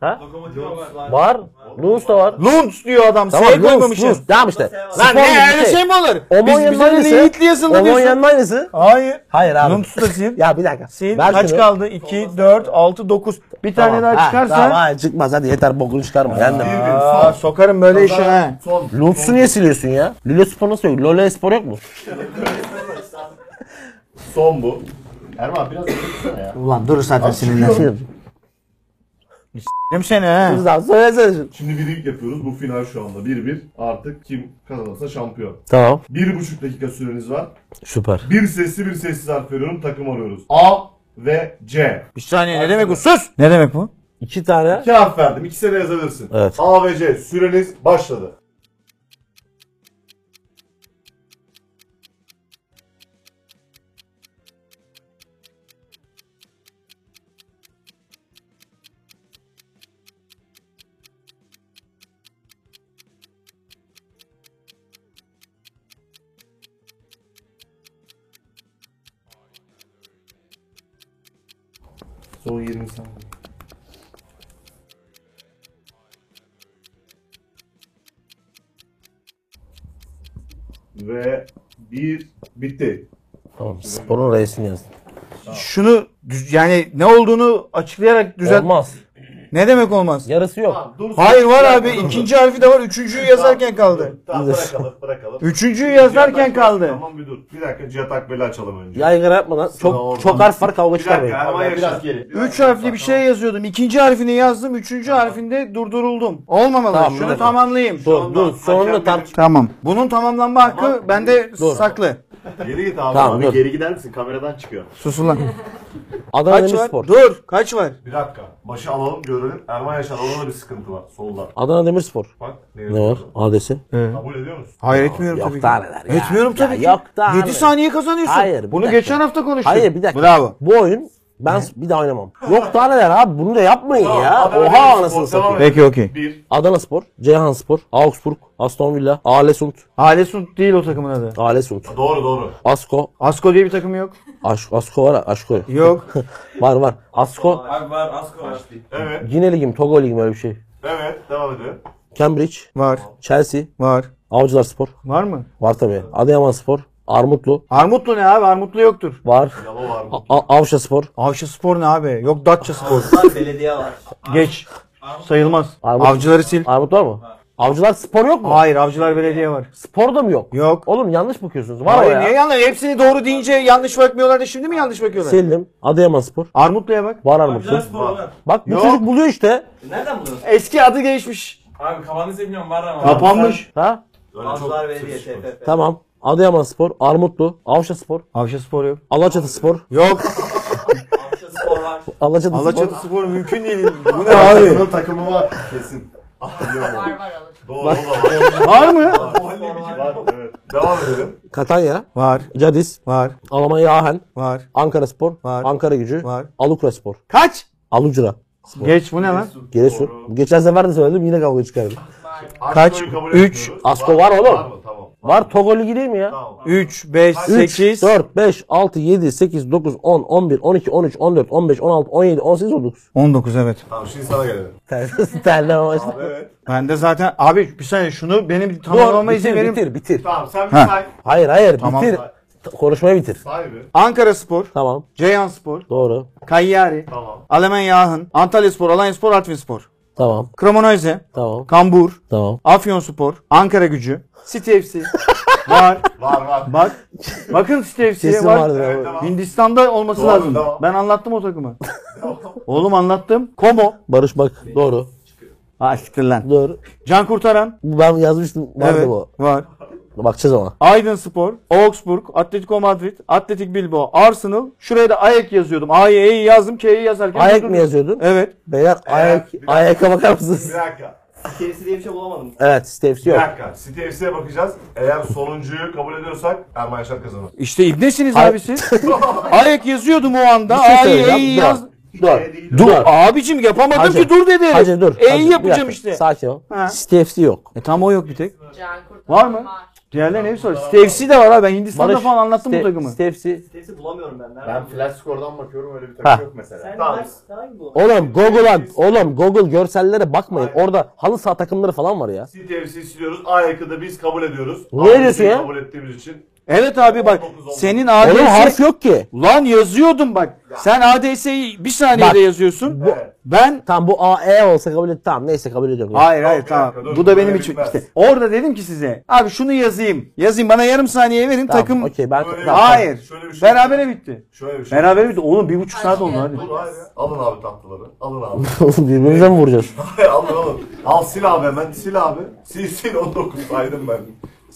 Ha?
Lokomotiva var.
Var. Lund da var.
Lund diyor adam.
Tamam
S'ye
Lund.
koymamışız.
Lund. Tamam işte.
Lan ne öyle şey mi olur? Biz
Omonya'nın
bize
aynısı.
Lilitli yazıldı diyorsun.
Omonya'nın aynısı.
Hayır.
Hayır abi.
Lund tutasın.
Ya bir dakika.
Sil
Ver
kaç
şunu.
kaldı? 2, 4, 6, 9. Bir tane daha çıkarsa
Tamam hayır çıkmaz hadi yeter bokunu çıkarma. Yendim.
Aa, sokarım böyle işe ha.
Son.
Lunds'u niye siliyorsun ya? Lüle Spor nasıl yok? Lole Spor yok mu?
Son bu. Erman biraz yakınsana ya.
Ulan dur zaten sinirlen.
Nasıl?
Sim seni ha.
Tamam söylesene şimdi.
Şimdi bir lig yapıyoruz. Bu final şu anda 1-1. Artık kim kazanırsa şampiyon.
Tamam.
1,5 dakika süreniz var.
Süper.
Bir sesli bir sessiz harf veriyorum. Takım arıyoruz. A ve C.
Bir saniye ne demek bu? Sus. Ne demek bu?
İki tane.
İki harf verdim. İkisine de yazabilirsin.
Evet.
A ve C. Süreniz başladı.
Sol 20 saniye.
Ve bir bitti.
Tamam sporun reisini yazdım.
Şunu düz- yani ne olduğunu açıklayarak düzelt.
Olmaz.
Ne demek olmaz?
Yarısı yok.
Tamam, dur.
Hayır var abi. ikinci harfi de var. Üçüncüyü yazarken kaldı.
Tamam bırakalım bırakalım.
Üçüncüyü
Cihat
yazarken
Akbel-
kaldı.
Tamam bir dur. Bir dakika Cihat Akbel'i açalım önce.
Yaygara yapmadan çok çok harf var kavga
bir
çıkarmayın.
dakika Erman Yaşar.
Üç harfli bir şey yazıyordum. İkinci harfini yazdım. Üçüncü harfinde durduruldum. Olmamalı.
Tamam,
Şunu
bırak.
tamamlayayım.
Dur dur sonunu tart.
Tamam. Bunun tamamlanma hakkı bende saklı.
Geri git abi.
Tamam dur.
Geri gider misin? Kameradan çıkıyor.
Susun lan.
Adana
Kaç var?
Demirspor.
Dur. Kaç var?
Bir dakika. Başı alalım görelim. Erman Yaşar orada da bir sıkıntı var. Solda.
Adana Demirspor.
Bak.
Ne var? Adresi.
Kabul ediyor musun?
Hayır etmiyorum tabii ki.
Yok da neler ya.
Etmiyorum
Ya
tabii ki.
Yok da
7
neler.
saniye kazanıyorsun.
Hayır, bir
Bunu
dakika.
geçen hafta konuştuk.
Hayır bir dakika.
Bravo.
Bu oyun ben bir daha oynamam. Yok daha neler abi bunu da yapmayın ya. Oha anasını satayım.
Peki okey.
Bir.
Adana Spor, Ceyhan Spor, Augsburg, Aston Villa, Alesund,
Alesund değil o takımın adı.
Alesund,
Doğru doğru.
Asko,
Asko diye bir takım yok.
Aş- Asko var ha, Asko.
Yok.
Var var. Asko,
Abi var az konuş.
Evet.
Gine Ligim, Togo Ligim öyle bir şey.
Evet. Devam edelim.
Cambridge,
Var.
Chelsea,
Var.
Avcılar Spor.
Var mı?
Var tabii. Adıyaman Spor, Armutlu
Armutlu ne abi? Armutlu yoktur.
var.
Yalo var mı?
A- A- Avşa Spor.
Avşa spor ne abi? Yok Datça spor.
belediye var.
Geç. Ah, Sayılmaz.
Armut-
Avcıları sil.
Armut var mı? Avcılar Spor yok mu?
Hayır Avcılar Belediye var.
Spor da mı yok?
Yok.
Oğlum yanlış bakıyorsunuz. Var o
Hayır
ya.
niye yanlış? Hepsini doğru deyince yanlış bakmıyorlar da şimdi mi yanlış bakıyorlar?
Sildim. Adıyama Spor.
Armutlu'ya bak.
Var Armutlu.
var.
Bak bu
Yok.
çocuk buluyor işte.
Nereden buluyorsun?
Eski adı değişmiş.
Abi kafanı bilmiyorum var ama.
Kapanmış.
Ha?
Öyle çok
Avcılar Belediye
sıkışık.
TFF.
Tamam. Adıyaman Spor, Armutlu, Avşa Spor,
Avşa spor yok.
Alaçatı Spor,
Yok.
Avcılar Spor var.
Alaçatı
Alaçatı
Spor.
spor mümkün değil. Bu ne abi?
Takımın takımı var kesin.
Var var alır.
Doğru o da var.
Var mı?
var. Evet. Devam edelim.
Katanya,
Var.
Cadiz,
Var.
Almanya Aachen,
Var.
Ankara Spor,
Var.
Ankara Gücü,
Var.
Alukra Spor,
Kaç?
Alucra,
Geç bu ne lan?
Giresun. Geçen sefer de söyledim yine kavga çıkardım.
Kaç?
Asko'yu kabul
Üç.
etmiyoruz.
Asko var oğlum.
Var mı? Tamam.
Var Togo Ligi değil mi ya?
Tamam.
3, 5,
3,
8.
4, 5, 6, 7, 8, 9, 10, 11, 12, 13, 14, 15, 16, 17, 18, 19.
19 evet.
Tamam şimdi sana gelelim.
Tersiz terlemez.
Evet.
Ben de zaten abi bir saniye şunu benim
Dur
tamamlama izin
bitir,
verin.
bitir bitir.
Tamam sen bir
Ha.
say.
Hayır hayır
Tamam.
bitir. T- Konuşmayı bitir.
Say bir.
Ankara Spor,
Tamam
Ceyhan Spor,
doğru.
Kayyari,
Tamam.
Alemanya Ahın, Antalya Spor, Alanya Spor, Artvin Spor,
Tamam
Kramonoyze,
tamam
Kambur,
tamam.
Afyon Spor, Ankara Gücü, City FC. var.
Var var.
Bak. Bakın City FC'ye
Kesin
var.
vardır
Evet,
abi.
tamam.
Hindistan'da olması
Doğru,
lazım.
tamam.
Ben anlattım o takımı. Oğlum anlattım. Komo.
Barış bak doğru.
Ha siktir lan.
Doğru.
Can Kurtaran.
Bu Ben yazmıştım vardı
evet.
bu.
Var.
Bakacağız ama.
Aydın Spor, Augsburg, Atletico Madrid, Atletik Bilbao, Arsenal. Şuraya da AEK yazıyordum. AEK'i yazdım, K'yi yazarken.
Ayak
durdurdum.
mı yazıyordun?
Evet.
Beyler ayak ayaka bakar
Bir
mısınız?
dakika.
Kerisi diye bir şey bulamadım.
Evet Stevesi
Bir
yok.
dakika. City FC'ye bakacağız. Eğer sonuncuyu kabul ediyorsak Erman Yaşar kazanır.
İşte ibnesiniz
Ay-
abi siz. AEK yazıyordum o anda.
Bir şey
AEK'i
söyleyeceğim. Dur.
yaz.
Şey
Dur.
Dur. Abicim yapamadım
Hacı,
ki dur dedi.
Hacı dur.
E'yi
Hacı, bir
yapacağım
dakika.
işte.
Sakin ol.
Ha.
Stevesi yok.
E tam o yok bir tek.
Can kurtaran
Var mı? Diğerleri ne soruyor? Stevsi de var abi. Ben Hindistan'da
Barış,
falan anlattım bu
Ste-
takımı.
Stevesi.
Kerisi bulamıyorum ben.
Ben
Nereden buluyorum?
flash skordan bakıyorum öyle bir
Ha.
takım yok mesela.
Sen
Tamam.
hangi- sen hangi bulamadın?
Oğlum Google'a, oğlum Google görsellere bakmayın. Orada halı saha takımları falan var ya.
City FC'yi siliyoruz. Ayak'ı da biz kabul ediyoruz.
Niye
Ayak'ı
diyorsun ya?
Kabul ettiğimiz için.
evet abi bak.
19 oldu.
Senin
Oğlum harf
ADS...
yok ki.
Lan yazıyordum bak. Sen ADS'yi bir saniyede
Bak.
yazıyorsun.
Evet.
Ben
Tamam bu AE olsa kabul et. Tamam neyse kabul ediyorum.
Hayır hayır
bir
tamam.
dakika, dur,
Bu da
böyle
benim için.
bitmez.
işte orada dedim ki size. Abi şunu yazayım. Yazayım bana yarım saniye verin
Tamam,
takım.
Okey ben
Böyle-
tamam,
Hayır.
Şöyle bir şey-
Berabere bitti.
Şöyle bir şey.
Berabere bitti. Oğlum bir buçuk saat oldu hadi.
Dur hayır ya. Alın abi tatlıları. Alın abi.
tamam. Oğlum birbirimize mi vuracağız?
alın alın. Al sil abi hemen. Sil abi. Sil sil 19 saydım ben.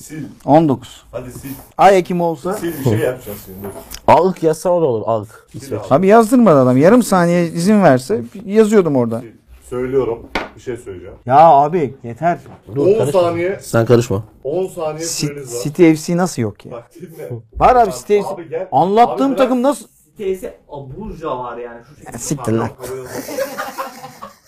Sil.
19.
Hadi sil.
Ay Ekim olsa.
Sil bir şey yapacağız şimdi.
Ağık yazsana da olur ağık.
Sil abi.
Abi yazdırmadı adam. Yarım saniye izin verse yazıyordum orada.
Sil. Söylüyorum. Bir şey söyleyeceğim.
Ya abi yeter.
Dur,
10
karışma.
saniye.
Sen karışma.
10 saniye
Ci-
süreniz var.
City FC nasıl yok ya?
Bak dinle.
Var abi City FC.
Abi gel.
Anlattığım
Abi bırak.
takım nasıl?
Kerisi aburca var yani. Şu şekilde.
Siktir lan.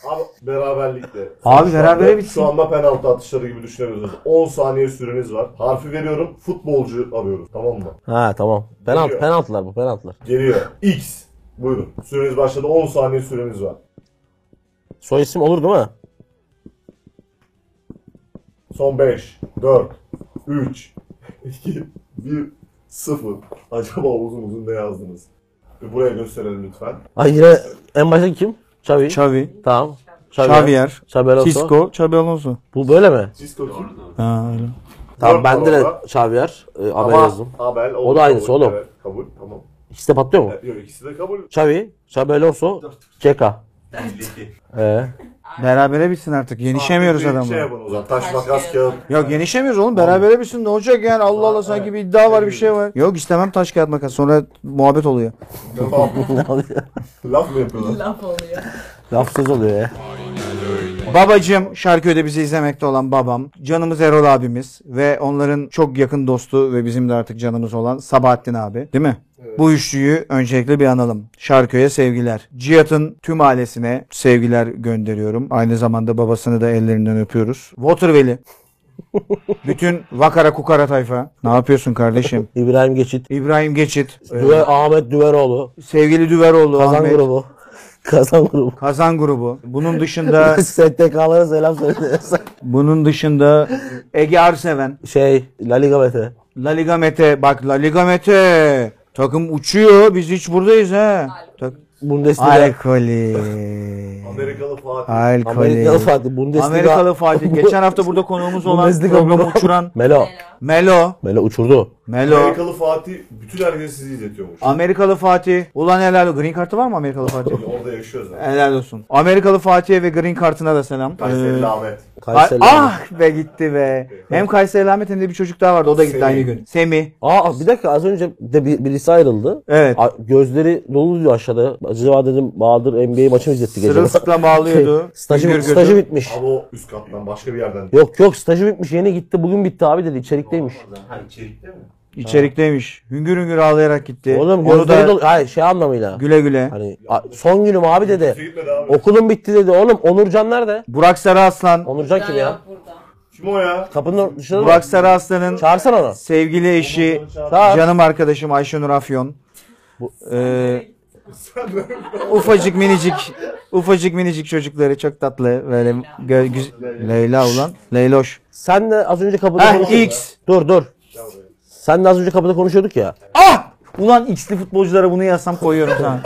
Abi beraberlikte.
Abi
Şu anda-
berabere bitsin.
Şu anda penaltı atışları gibi düşünebilirsiniz. 10 saniye süreniz var. Harfi veriyorum. Futbolcu arıyoruz. Tamam mı?
Ha tamam. Penaltı,
Geliyor.
penaltılar bu penaltılar.
Geliyor. X. Buyurun. Süreniz başladı. 10 saniye süreniz var.
Soy isim olur değil mi?
Son 5, 4, 3, 2, 1, 0. Acaba uzun uzun ne yazdınız? Bir Buraya gösterelim lütfen.
Ay yine en başta kim? Xavi.
Xavi,
Tamam.
Xavier,
Xabi Alonso.
Cisco, Xabi Alonso.
Bu böyle mi?
Cisco kim?
Ha, öyle.
Tamam bende de
numara.
Xavier. E, Abel
Ama-
yazdım.
Abel,
O da aynısı
kabul,
oğlum.
evet, kabul, tamam.
İkisi de patlıyor mu?
Evet, Yok ikisi de kabul.
Xavi, Xabi Alonso, Ceka. Ee,
Berabere bitsin artık. Yenişemiyoruz
Bir Şey
adamla.
yapın o zaman. Taş, makas, kağıt.
Yok yenişemiyoruz oğlum. Berabere bitsin ne olacak yani? Allah Allah sanki bir iddia var bir şey var. Yok istemem taş kağıt makas. Sonra muhabbet oluyor.
Tamam.
ne oluyor?
Laf mı yapıyorlar?
Laf oluyor.
Lafsız oluyor ya.
Babacım Şarköy'de bizi izlemekte olan babam, canımız Erol abimiz ve onların çok yakın dostu ve bizim de artık canımız olan Sabahattin abi değil mi? Bu üçlüyü öncelikle bir analım. Şarköy'e sevgiler. Cihat'ın tüm ailesine sevgiler gönderiyorum. Aynı zamanda babasını da ellerinden öpüyoruz. Waterveli. Bütün Vakara Kukara tayfa. Ne yapıyorsun kardeşim?
İbrahim Geçit,
İbrahim Geçit.
Düve, Ee, Ahmet Düvenoğlu,
Sevgili Düveroğlu.
Kazan
Ahmet,
grubu. Kazan grubu.
Kazan grubu. Bunun dışında
STK'lara selam söyle.
bunun dışında Ege Arseven.
Şey, La Liga Mete.
La Liga Mete bak La Liga Mete takım uçuyor biz hiç buradayız ha. Tak-
Bundesliga.
Alkoli.
Amerikalı Fatih.
Alkoli.
Amerikalı Fatih. Bundesliga.
Amerikalı Fatih. Geçen hafta burada konuğumuz olan
Bundesliga-
programı uçuran
Melo.
Melo.
Melo uçurdu.
Melo.
Amerikalı Fatih bütün herkes sizi izletiyormuş.
Amerikalı Fatih. Ulan helal olsun. Green kartı var mı Amerikalı Fatih?
Orada yaşıyor zaten.
helal olsun. Amerikalı Fatih'e ve Green kartına da selam. Ee,
Kayseri Ahmet.
Kayseri. Aa!
ah be gitti be. Hem Kayseri Ahmet hem de bir çocuk daha vardı. O da gitti
Semih.
aynı gün. Semih.
bir dakika az önce de bir, birisi ayrıldı.
Evet.
A- gözleri dolu diyor aşağıda. Acaba dedim Bahadır NBA maçı mı izletti gece?
Sırılsıklam ağlıyordu.
Şey, stajı,
Hüngür gözü.
stajı bitmiş.
Abi o üst kattan başka bir yerden.
Yok yok stajı bitmiş yeni gitti bugün bitti abi dedi içerikteymiş.
Ha içerikte mi?
İçerikteymiş. Hüngür hüngür ağlayarak gitti.
Oğlum
Onu
gözleri
da
dolu. Hayır şey anlamıyla.
güle güle.
Hani a- son günüm abi dedi.
Gitmedi abi.
Okulum bitti dedi. Oğlum Onurcan nerede?
Burak Sarıaslan.
Onurcan kim ya?
Burada.
Kim o ya?
Kapının dışında mı?
Burak Sarıaslan'ın
Çağırsana onu.
sevgili eşi,
Çağır.
canım arkadaşım Ayşenur Afyon. Ee, ufacık minicik ufacık minicik çocukları çok tatlı böyle gö- güz- Leyla ulan Leyloş.
Sen de az önce kapıda
Ah
konuşuyorduk.
X.
Dur dur. Sen de az önce kapıda konuşuyorduk ya.
Ah! Ulan X'li futbolculara bunu yazsam koyuyorum sana.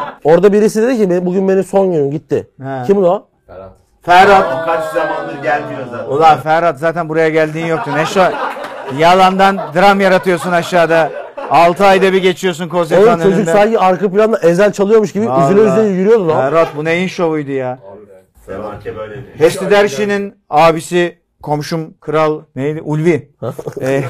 Orada birisi dedi ki "Benim- bugün benim son günüm gitti.
He.
Kim o?
Ferhat.
Ferhat.
Kaç zamandır gelmiyor zaten.
Ulan Ferhat zaten buraya geldiğin yoktu. Ne şu yalandan dram yaratıyorsun aşağıda. 6 ayda bir geçiyorsun
Oğlum
Kozetan
çocuk
önünde.
sanki arka planda ezel çalıyormuş gibi
Vallahi.
üzüle üzüle yürüyordu lan.
Ferhat bu neyin şovuydu ya?
Demarke böyle diyor.
Hesti Derşi'nin abisi komşum kral neydi? Ulvi. Ee,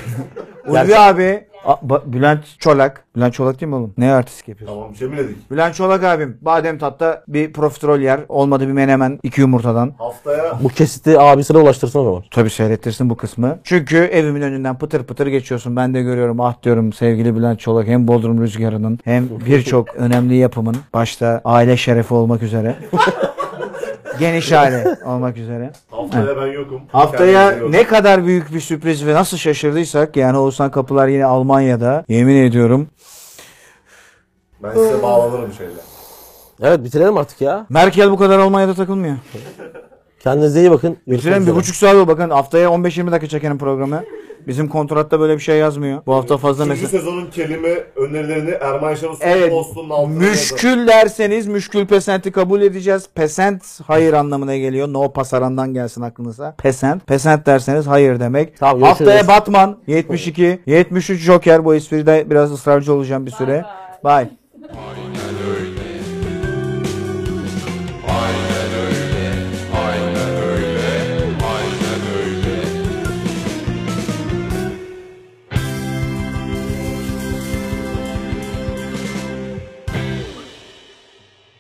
Ulvi abi A- Ba- Bülent Çolak. Bülent Çolak değil mi oğlum? Ne artistik yapıyorsun?
Tamam bir şey mi dedik?
Bülent Çolak abim badem tatta bir profiterol yer. Olmadı bir menemen iki yumurtadan.
Haftaya
Bu kesiti abisine ulaştırsın o zaman.
Tabii seyrettirsin bu kısmı. Çünkü evimin önünden pıtır pıtır geçiyorsun. Ben de görüyorum ah diyorum sevgili Bülent Çolak hem Bodrum Rüzgarı'nın hem birçok önemli yapımın başta aile şerefi olmak üzere. Geniş aile olmak üzere.
haftaya ben yokum.
Haftaya
Kendinize iyi bakın.
ne kadar büyük bir sürpriz ve nasıl şaşırdıysak yani Oğuzhan Kapılar yine Almanya'da. Yemin ediyorum.
Ben size bağlanırım şeyler.
Evet bitirelim artık ya.
Merkel bu kadar Almanya'da takılmıyor.
Kendinize iyi bakın. Görüşmek
Bitirelim bir
üzere.
buçuk saat oldu. Bakın haftaya 15-20 dakika çekelim programı. Bizim kontratta böyle bir şey yazmıyor. Bu hafta fazla
Üçüncü
mesaj.
sezonun kelime önerilerini Erman Şan'ın son
Evet.
postunun altına yazın.
Müşkül derseniz müşkül pesenti kabul edeceğiz. Pesent hayır anlamına geliyor. No pasarandan gelsin aklınıza. Pesent. Pesent derseniz hayır demek.
Tamam, görüşürüz.
Haftaya Batman 72, 73 Joker. Bu espride biraz ısrarcı olacağım bir süre. Bye.